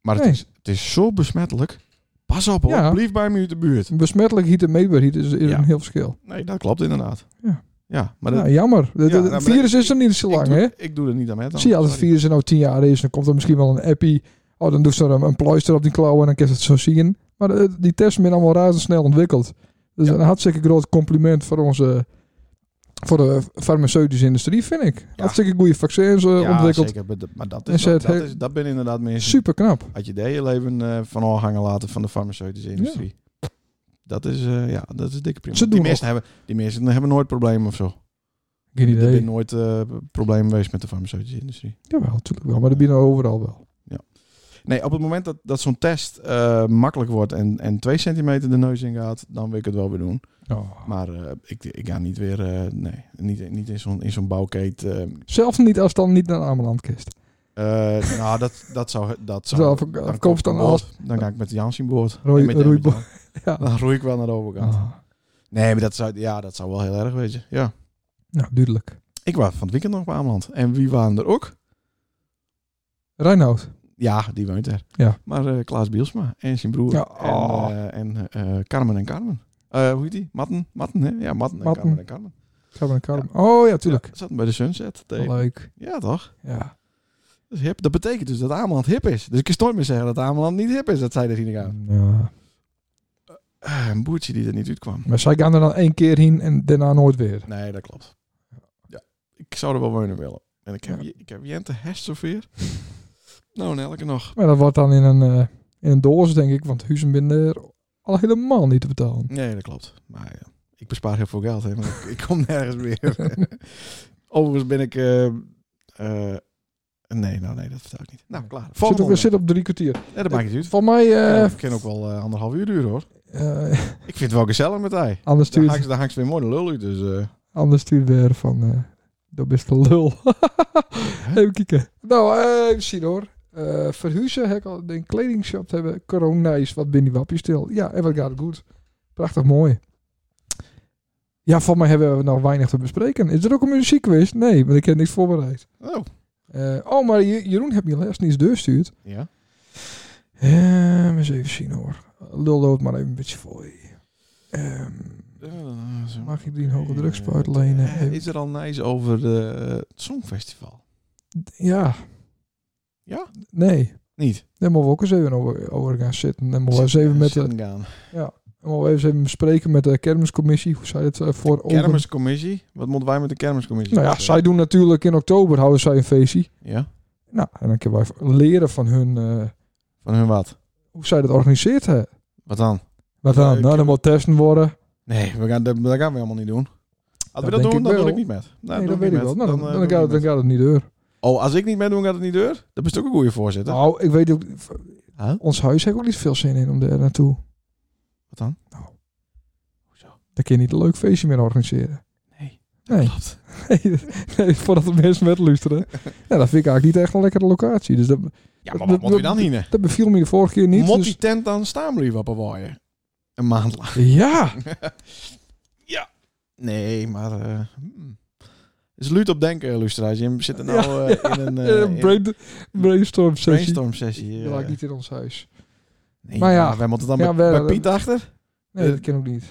Maar het,
Nee.
is, het is zo besmettelijk. Pas op hoor,
Ja. Mm.
blijf bij me uit de buurt.
Besmettelijk hiet en meetbaar hiet is, is
Ja.
een heel verschil.
Nee, dat klopt inderdaad.
Ja.
Ja, maar dat,
Nou, jammer. Het
Ja,
het
nou, maar
virus is er niet zo
ik,
lang,
doe,
hè?
ik doe er niet aan met. dan.
Zie je, als het
Sorry.
virus er nou tien jaar is, dan komt er misschien wel een appie. Oh, dan doet ze er een, een pleister op die klauwen en dan kun je het zo zien. Maar eh, die testen zijn allemaal razendsnel ontwikkeld. Dat is
Ja.
een hartstikke groot compliment voor onze... Voor de farmaceutische industrie, vind ik. Hartstikke goede vaccins eh,
Ja,
ontwikkeld.
zeker, maar dat- maar dat
En
is,
ze
dat,
het
dat
heel-
is, dat ben inderdaad mensen
Super knap.
uit je hele leven eh, van afhangen laten van de farmaceutische industrie. Dat is, eh, ja, dat is dikke prima.
Ze
die
doen
mensen hebben, die mensen hebben nooit problemen of zo.
Geen
Er
idee.
zijn nooit eh problemen geweest met de farmaceutische industrie.
Jawel, natuurlijk wel. Maar dat binnen overal wel.
Nee, op het moment dat, dat zo'n test eh, makkelijk wordt en, en twee centimeter de neus in gaat, dan wil ik het wel weer doen. Maar eh, ik, ik ga niet weer, eh, nee, niet, niet in zo'n in zo'n bouwkeet. eh,
Zelfs niet als het dan niet naar Ameland kist.
eh, nou, dat, dat zou,
*laughs*
dat zou.
Zelf- of
koop ik
koop dan
aan boord.
alles.
Dan ga ik met Jans in boord.
Roei-
En met Emmet
roeibo-
dan.
*laughs* Ja.
Dan roei ik wel naar de overkant.
Ah,
Nee, maar dat zou, ja, dat zou wel heel erg wezen. Ja.
nou, duidelijk.
Ik was van het weekend nog op Ameland. En wie waren er ook?
Reinoud.
Ja, die woont er.
Ja.
Maar eh, Klaas Bielsma en zijn broer.
Ja,
En,
oh.
eh, en eh, Carmen en Carmen. Eh, hoe heet die? Matten? Matten, hè? Ja, Matten, en
Matten.
Carmen en Carmen.
Gaan we naar Karim. Oh ja, tuurlijk.
Ja, zaten bij de Sunset. tegen-
Leuk.
Ja, toch?
Ja.
Dat is hip. Dat betekent dus dat Ameland hip is. Dus ik kan nooit meer zeggen dat Ameland niet hip is. Dat zij er niet gaan.
ja.
Eh, een boertje die er niet uitkwam.
Maar zij gaan er dan één keer heen en daarna nooit weer.
Nee, dat klopt. Ja. Ik zou er wel wonen willen. En ik heb,
Ja.
je- ik heb Jente Hest zover. *laughs* nou, en elke nog.
Maar dat wordt dan in een, eh, in een doos, denk ik. Want huizen binnen er al helemaal niet te betalen.
Nee, dat klopt. Maar ja, ik bespaar heel veel geld, hè, want ik, ik kom *laughs* nergens meer. *laughs* Overigens ben ik... eh, eh, nee, nou nee, dat vertel ik niet. Nou, klaar.
Zit,
Volgende
ook,
onderwerp.
zit op drie kwartier.
Ja, dat maakt niet uit.
Van mij...
Ja,
eh
ik ken ook wel eh, anderhalf uur duren, hoor.
eh,
Ik vind het wel gezellig met hij.
anders
Daar
stuurt
hangt, daar hangt ze weer mooi de lul uit, dus... eh,
anders stuurt weer van... eh dat best een
*laughs*
lul. even kijken. Nou, eh, even zien hoor. Eh verhuizen, heb ik al een kledingshop te hebben. Corona is wat binnen die wapje stil. Ja, en wat gaat het goed. Prachtig mooi. Ja, van mij hebben we nog weinig te bespreken. Is er ook een muziekquiz? Nee, want ik heb niks voorbereid.
Oh.
Eh, oh, maar Je- Jeroen heeft me les niet eens doorgestuurd.
Ja.
Ehm eens even zien hoor. Lul dood maar even een beetje voor je. Ehm, mag ik die een hoge drugspuit lenen?
Eh, Is er al nice over eh, het Songfestival?
ja.
Ja?
Nee.
Niet.
Daar moeten we ook eens even over, over gaan zitten. Dan moeten we eens even, met de,
Zitten gaan.
dan moeten we eens even bespreken met de kermiscommissie. Hoe zij het eh, voor ogen-
Kermiscommissie? Wat moeten wij met de kermiscommissie?
Nou ja,
doen?
zij doen natuurlijk in oktober houden zij een feestje.
Ja?
Nou, en dan kunnen wij leren van hun eh,
Van hun wat?
hoe zij dat organiseert. Hè.
Wat dan?
Wat dan?
Leuk.
nou, dan moet testen worden.
Nee, we gaan, dat, dat gaan we helemaal niet doen. Als we
Dat denk
dat doen,
ik
dan
wel.
doe ik niet met. Nee,
nee,
doe
dat weet ik
niet
wel.
met.
Nou, dan,
eh,
dan,
doe ik
gaat, het- dan
niet met.
gaat het niet deur.
Oh, als ik niet meedoe, gaat het niet deur? Dat is toch een goede voorzitter.
Nou, ik weet ook, v-
Huh?
ons huis heeft ook niet veel zin in om daar naartoe.
Wat dan?
Dan kun je niet een leuk feestje meer organiseren.
Nee. *laughs*
Nee.
Klopt.
Nee, nee, voordat de mensen met
*laughs*
luisteren. Ja, dat vind ik eigenlijk niet echt een lekkere locatie. Dus dat,
Ja,
Dat-
maar wat moeten we
dat-
dan hier?
dat beviel me de vorige keer niet.
Moet
dus-
die tent dan staan blijven op een waaien? Een maand lang. *laughs*
ja,
Nee, maar... eh, hmm. Het is luut op denken, luisteraars. Je zit er nou eh, in *laughs* een eh,
eh,
in een
brain- brainstorm sessie.
brainstorm sessie. eh.
Dat lijkt niet in ons huis.
maar
Maar
ja,
ja.
wij moeten dan
Ja,
bij,
we-
bij Piet achter. Eh.
Nee, dat ken ik niet.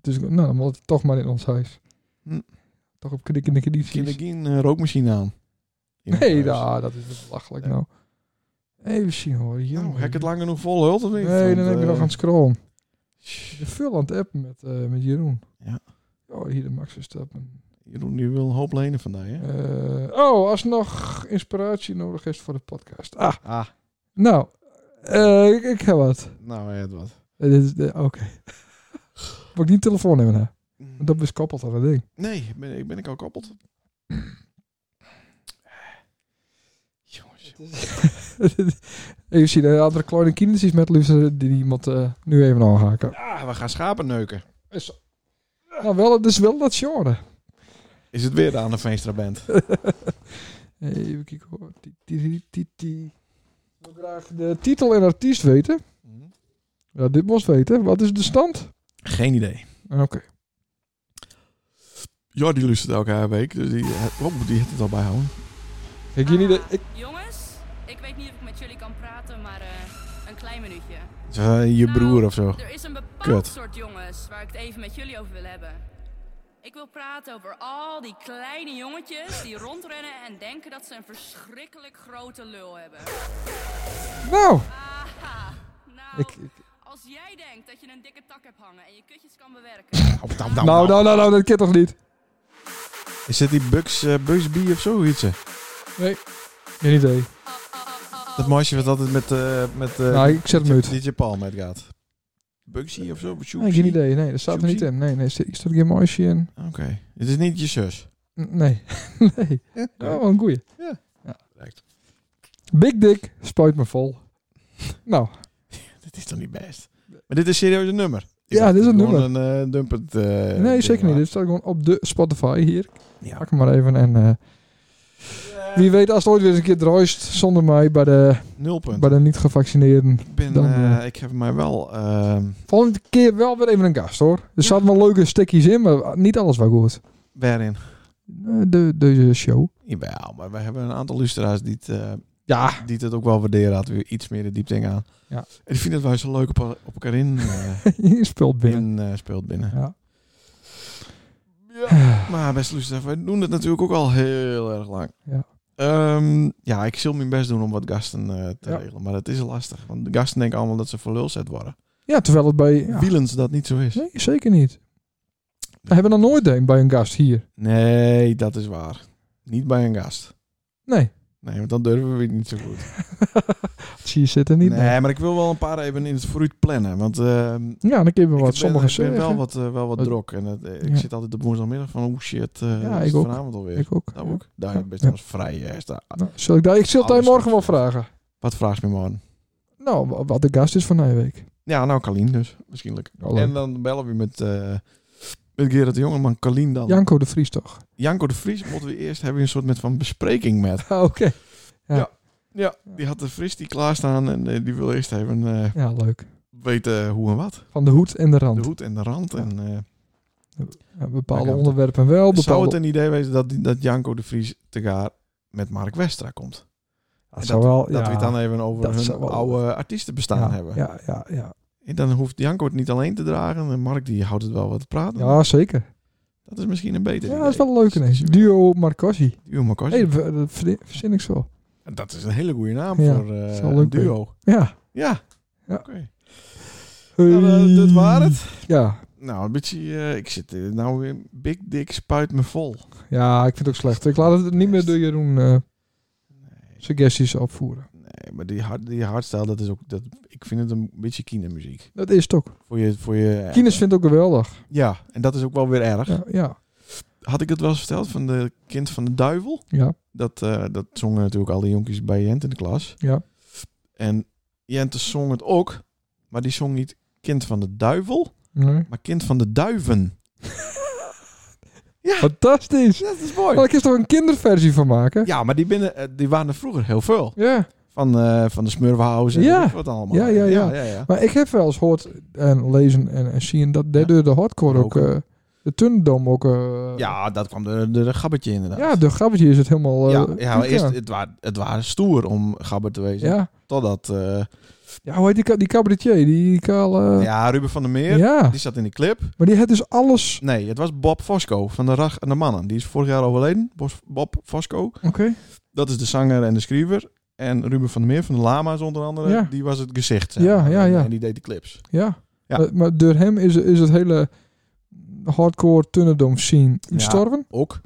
Dus ik- nou, dan moet het toch maar in ons huis.
Hm.
Toch op knikkende
Kinderen
condities.
geen eh, rookmachine aan. In het
Nee,
huis.
daar, dat is belachelijk
Ja.
nou. Even zien hoor.
Nou,
jongen.
heb ik het lang genoeg vol hult of niet?
Hmm. Nee, dan
Want,
heb je
eh,
nog aan het scrollen.
shh,
Je veel aan het appen met, eh, met Jeroen.
Ja.
Oh, hier de Max Verstappen.
Jeroen, die wil een hoop lenen vandaag, hè?
Eh, oh, als nog inspiratie nodig is voor de podcast. Ah,
Ah,
nou. eh, ik, ik heb wat.
nou, hij had wat.
Eh, dit is de- Oké. *laughs* Moet ik niet telefoon hebben, hè? Want Dat is koppeld aan dat ding. *laughs*
Nee, ben, ik- ben ik al koppeld? Jongens.
even zien, de andere kleine kindertjes met luisteren die iemand eh, nu even aanhaken.
Ah, we gaan schapen neuken.
Nou, wel, het is wel dat genre.
Is het weer de Anne Veenstra Band?
Even kijken hoor. Ti- ti- ti- ti- ti. Ik wil graag de titel en artiest weten. Ja, dit moest weten. Wat is de stand?
Geen idee.
Oké.
Ja, die luistert elke week, dus die, oh, die heeft het al bijhouden.
Kijk, jullie de... Ik,
Ah, Jongens, ik weet niet of ik met jullie kan praten, maar eh, een klein minuutje.
eh, je broer of zo.
Er is een bepaald
Kut.
soort jongens waar ik het even met jullie over wil hebben. Ik wil praten over al die kleine jongetjes die rondrennen en denken dat ze een verschrikkelijk grote lul hebben.
nou!
Aha, nou,
Ik, ik-
als jij denkt dat je een dikke tak hebt hangen en je kutjes kan bewerken,
Nou, nou,
nou, nou, nou, nou, dat kan toch niet?
Is dit die Bugs, eh, Bugs B of zoiets? eh?
Nee. Geen idee.
Oh,
Dat meisje wat altijd met... eh met eh,
nou, ik zet hem uit.
DJ Paul met gaat. Bugsy of zo?
Nee, geen idee. Nee, dat staat er niet
Joepsie.
in. Nee, nee, staat staat geen mooisje in.
Oké. Het is niet je zus.
N- Nee. nee.
*laughs*
Oh, wel een goeie.
Ja. Lijkt.
Lijkt. Big Dick spuit me vol. Nou,
Dit is toch niet best? Maar dit is serieus een nummer. Ik
Ja,
dacht
dit is een
gewoon
nummer.
een eh, dumpert. eh,
nee,
ding
zeker niet.
was.
Dit staat gewoon op de Spotify hier.
Ja.
Pak hem maar even en... eh,
Eh,
wie weet als het ooit weer eens een keer druist zonder mij bij de,
Nul punt.
bij de niet-gevaccineerden.
Ik, ben,
dan,
eh,
eh,
ik heb mij wel... ehm
Volgende keer wel weer even een gast hoor. Er zaten wel leuke stukjes in, maar niet alles was goed.
waarin?
Eh, De, deze show.
Jawel, maar we hebben een aantal luisteraars die het, eh,
Ja.
die het ook wel waarderen. Hadden we iets meer de diepte in gaan.
Ja.
En die vinden het wel zo leuk op, op elkaar in, eh,
*laughs* Je speelt *laughs* binnen.
in eh, speelt binnen.
Ja.
Maar beste luisteraars, wij doen het natuurlijk ook al heel erg lang.
Ja.
Ehm, ja, ik zal mijn best doen om wat gasten eh, te
Ja.
regelen. Maar dat is lastig. Want de gasten denken allemaal dat ze voor lul zet worden.
ja, terwijl het bij... ja.
Wielens dat niet zo is.
Nee, zeker niet. We hebben er nooit een bij een gast hier.
Nee, dat is waar. Niet bij een gast.
Nee. *laughs*
Nee, want dan durven we het niet zo goed.
Zie je zitten niet.
nee, maar ik wil wel een paar even in het vooruit plannen. Want ehm,
Ja, dan kun je wel
ik
wat
ben,
sommige
ik ben
zeggen.
wel wat, eh, wel wat
Wat-
drok. En het- eh, ik
Ja.
zit altijd op woensdagmiddag van, oh shit, eh,
Ja,
is
ik
het
ook.
vanavond alweer.
Ik ook.
Dat Nou, ook. Daar
Ja.
ben je
Ja.
trouwens vrij. eh, sta-
Nou, zal ik, daar, ik zal het daar
Alles
morgen wel
goed.
vragen.
Wat vraagt me morgen?
Nou, wa- wat de gast is van die week.
Ja, nou Kalien dus. Misschien.
Oh, leuk.
En dan bellen we met, eh met Gerard de Jonge, maar Kalien dan.
Janko de Vries toch? *laughs*
Janko de Vries moeten we eerst hebben we een soort met van bespreking met.
Ah, Oké. Ja.
Die had de Vries die klaarstaan en eh, die wil eerst even eh,
Ja, leuk.
weten hoe en wat.
Van de hoed en de rand.
De hoed en de rand. En, eh,
Ja,
Daar
bepaalde
kan het.
onderwerpen wel,
zou het
bepaalde...
een idee wezen dat, die- dat Janko de Vries tegaar met Mark Westra komt?
Dat
Dat,
zou wel,
dat
Oh, ja.
we het dan even over
Dat
hun
zou wel-
oude artiesten bestaan
ja,
hebben.
Ja, ja, ja.
En dan hoeft Janko het niet alleen te dragen. En Mark die houdt het wel wat te praten.
ja, zeker.
Dat is misschien een beter
Ja,
idee.
dat is wel leuk ineens.
Dus-
Duo Marcosi.
Duo Marcosi.
Nee, dat- dat verzin- verzin ik zo.
Dat is een hele goede naam
Ja,
voor eh
is wel
een
leuk,
duo.
Ja.
Ja.
Ja.
Oké. Nou, eh, dat waren het.
Ja.
Nou, een beetje... eh, ik zit eh, nou weer... Big Dick spuit me vol.
ja, ik vind het ook slecht. Ik laat het niet meer door Jeroen eh,
Nee,
suggesties opvoeren.
nee maar die, hard, die hardstyle, dat is ook... Dat, ik vind het een beetje kindermuziek.
Dat is het ook.
Voor je... Voor je eh,
Kines vindt het ook geweldig.
Ja, en dat is ook wel weer erg.
Ja, ja.
Had ik het wel eens verteld van de kind van de duivel?
ja.
Dat, eh, dat zongen natuurlijk al die jonkies bij Jent in de klas.
Ja.
En Jente zong het ook, maar die zong niet kind van de duivel,
Nee.
maar kind van de duiven. ja,
Fantastisch.
dat is
Kan
mooi.
ik er toch een kinderversie van maken?
Ja, maar die, binnen, eh, die waren er vroeger heel veel.
ja.
Van, eh, van de Smurwenhuis en
Ja.
weet ik wat allemaal.
Ja, ja, ja.
ja, ja.
Maar ik heb wel eens gehoord en lezen en, en zien dat daardoor de hardcore ook,
Ook.
eh, de Tundom ook. eh,
Ja, dat kwam de, de, de gabbetje inderdaad.
ja, de grappetje is het helemaal. eh,
ja, ja, maar eerst,
ja.
het, waren, het waren stoer om gabber te wezen.
ja.
Totdat eh,
Ja, hoe heet die, ka- die cabaretier? Die, die kale.
ja, Ruben van der Meer,
Ja,
die zat in die clip.
maar die had dus alles.
Nee, het was Bob Fosco van de Rag en de Mannen. Die is vorig jaar overleden. Bos- Bob Fosco.
Oké.
Dat is de zanger en de schrijver. En Ruben van der Meer van de Lama's onder andere.
Ja.
Die was het gezicht. zeg
Ja,
maar.
ja, ja.
En die deed de clips.
Ja.
Ja.
Maar, maar door hem is, is het hele hardcore Tundom scene gestorven.
Ook.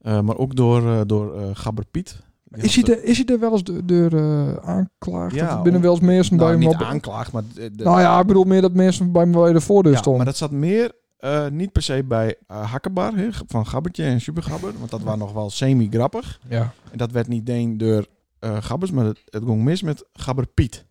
Eh, maar ook door, eh, door eh, Gabber Piet. Die
Is,
had
hij er, is hij er wel eens door, door eh, aanklaagd?
Ja,
Ja, binnen
om-
wel eens mensen
de- nou,
bij hem
niet
op.
aanklaagd, maar... eh, de-
Nou ja, ik bedoel meer dat mensen bij hem bij de voordeur
ja,
stonden.
maar dat zat meer eh, niet per se bij eh, Hakkenbar. hè, van Gabbertje en Supergabber. Want dat waren nog wel semi-grappig.
Ja.
En dat werd niet één door eh, gabbers, maar het, het ging mis met gabber Piet.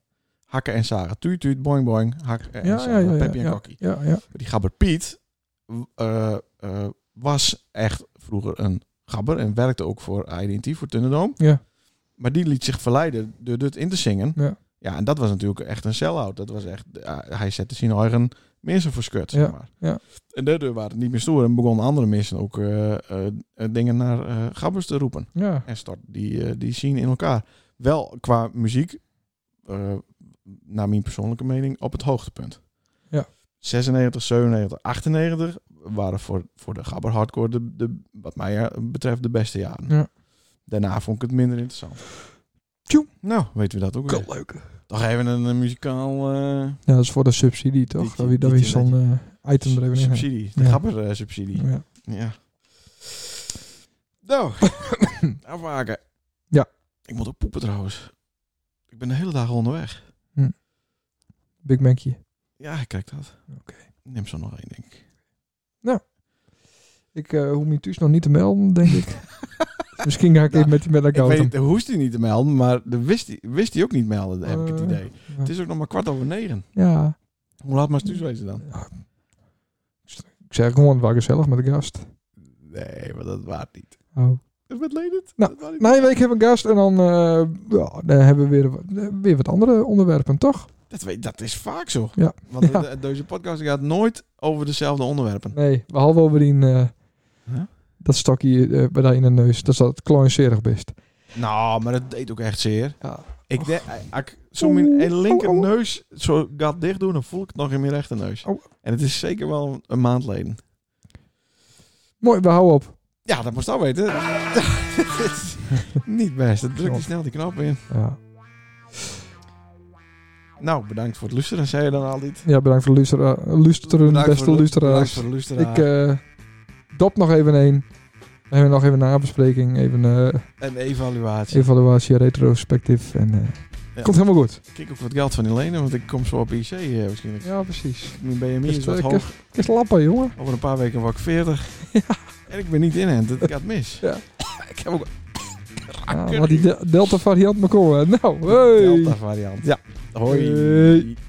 Hakken en zagen. Tuut, tuut, boing, boing. Hakken en
Ja,
zagen.
ja, ja,
Peppie
ja,
en Kokkie.
Ja, ja.
Maar Die gabber Piet w- eh, eh, was echt vroeger een gabber en werkte ook voor IDT, voor Tunnedoom.
Ja.
Maar die liet zich verleiden door dit in te zingen.
Ja.
ja, en dat was natuurlijk echt een sell-out. Dat was echt, ja, hij zette zijn eigen mensen voor skut,
Ja,
zeg maar.
ja.
En daardoor waren het niet meer stoer en begonnen andere mensen ook eh, eh, eh, dingen naar eh, gabbers te roepen
ja.
en start die, eh, die scene in elkaar. Wel qua muziek, eh, naar mijn persoonlijke mening, op het hoogtepunt.
Ja.
96, 97, 98 waren voor, voor de gabber hardcore, de, de, wat mij eh, betreft, de beste jaren.
Ja.
Daarna vond ik het minder interessant.
Tjoe.
Nou, weten we dat ook weer.
leuk.
Toch even een, eh, muzikaal eh,
Ja, dat is voor de subsidie toch?
Liedje,
dat we, dat we
liedje,
zo'n eh, item er even in hebben.
subsidie, de
Ja.
gabber eh, subsidie.
Ja.
Ja. Nou, afwaken.
Ja.
Ik moet ook poepen trouwens. Ik ben de hele dag onderweg.
Big Macje.
Ja, ik kijk dat.
Oké.
Neem zo nog één, denk ik.
Ik eh hoef me thuis nog niet te melden, denk
*laughs*
ik. Misschien ga ik
Nou,
even met die met
Ik
elkaar.
weet, hoest hij niet te melden, maar de wist hij, wist hij ook niet melden, heb ik het
Eh,
idee.
ja.
Het is ook nog maar kwart over negen.
Ja.
Hoe laat maar thuis wezen dan?
Ik zeg gewoon, het was gezellig met de gast.
Nee, maar dat waard niet.
Oh.
Dat werd leed het.
Nou,
dat waard niet.
Na een week hebben we een gast en dan, eh, ja, dan hebben we weer, wat- weer wat andere onderwerpen, toch?
Dat, weet, dat is vaak zo.
Ja.
Want
Ja.
de- deze podcast gaat nooit over dezelfde onderwerpen.
Nee, we hadden over die, eh,
Huh?
dat stokje eh, bij daar in de neus. Dat is dat kloinserig best.
Nou, maar dat deed ook echt zeer.
Ja.
Ik denk, eh, ik zo mijn een linker neus zo gaat dicht doen, dan voel ik het nog in mijn rechter neus.
Oh.
En het is zeker wel een maand geleden.
Mooi, we houden op.
Ja, dat moest al weten. Dit is *laughs* Niet best. Dan druk je snel die knop in.
Ja.
Nou, bedankt voor het luisteren, zei je dan al niet.
Ja, bedankt voor de luisteren, luisteren
Bedankt
beste
voor de lu- Bedankt
luisteraars.
voor de luisteraar.
Ik eh dop nog even een. We hebben nog even een nabespreking, even eh
Een evaluatie.
evaluatie, retrospectief. En, eh,
Ja.
Komt helemaal goed.
Ik kijk ook wat geld van die lenen, want ik kom zo op IC eh, waarschijnlijk.
Ja, precies.
Mijn BMI is
Kist,
wat
eh,
hoog.
Kist lappen, jongen.
Over een paar weken word ik 40. En ik ben niet in het. Het gaat mis.
Ja.
Ik heb ook Ah,
Ja, laat die de- Delta variant maar komen. Nou, hey.
een Delta variant. Ja. Hoi.
Hey.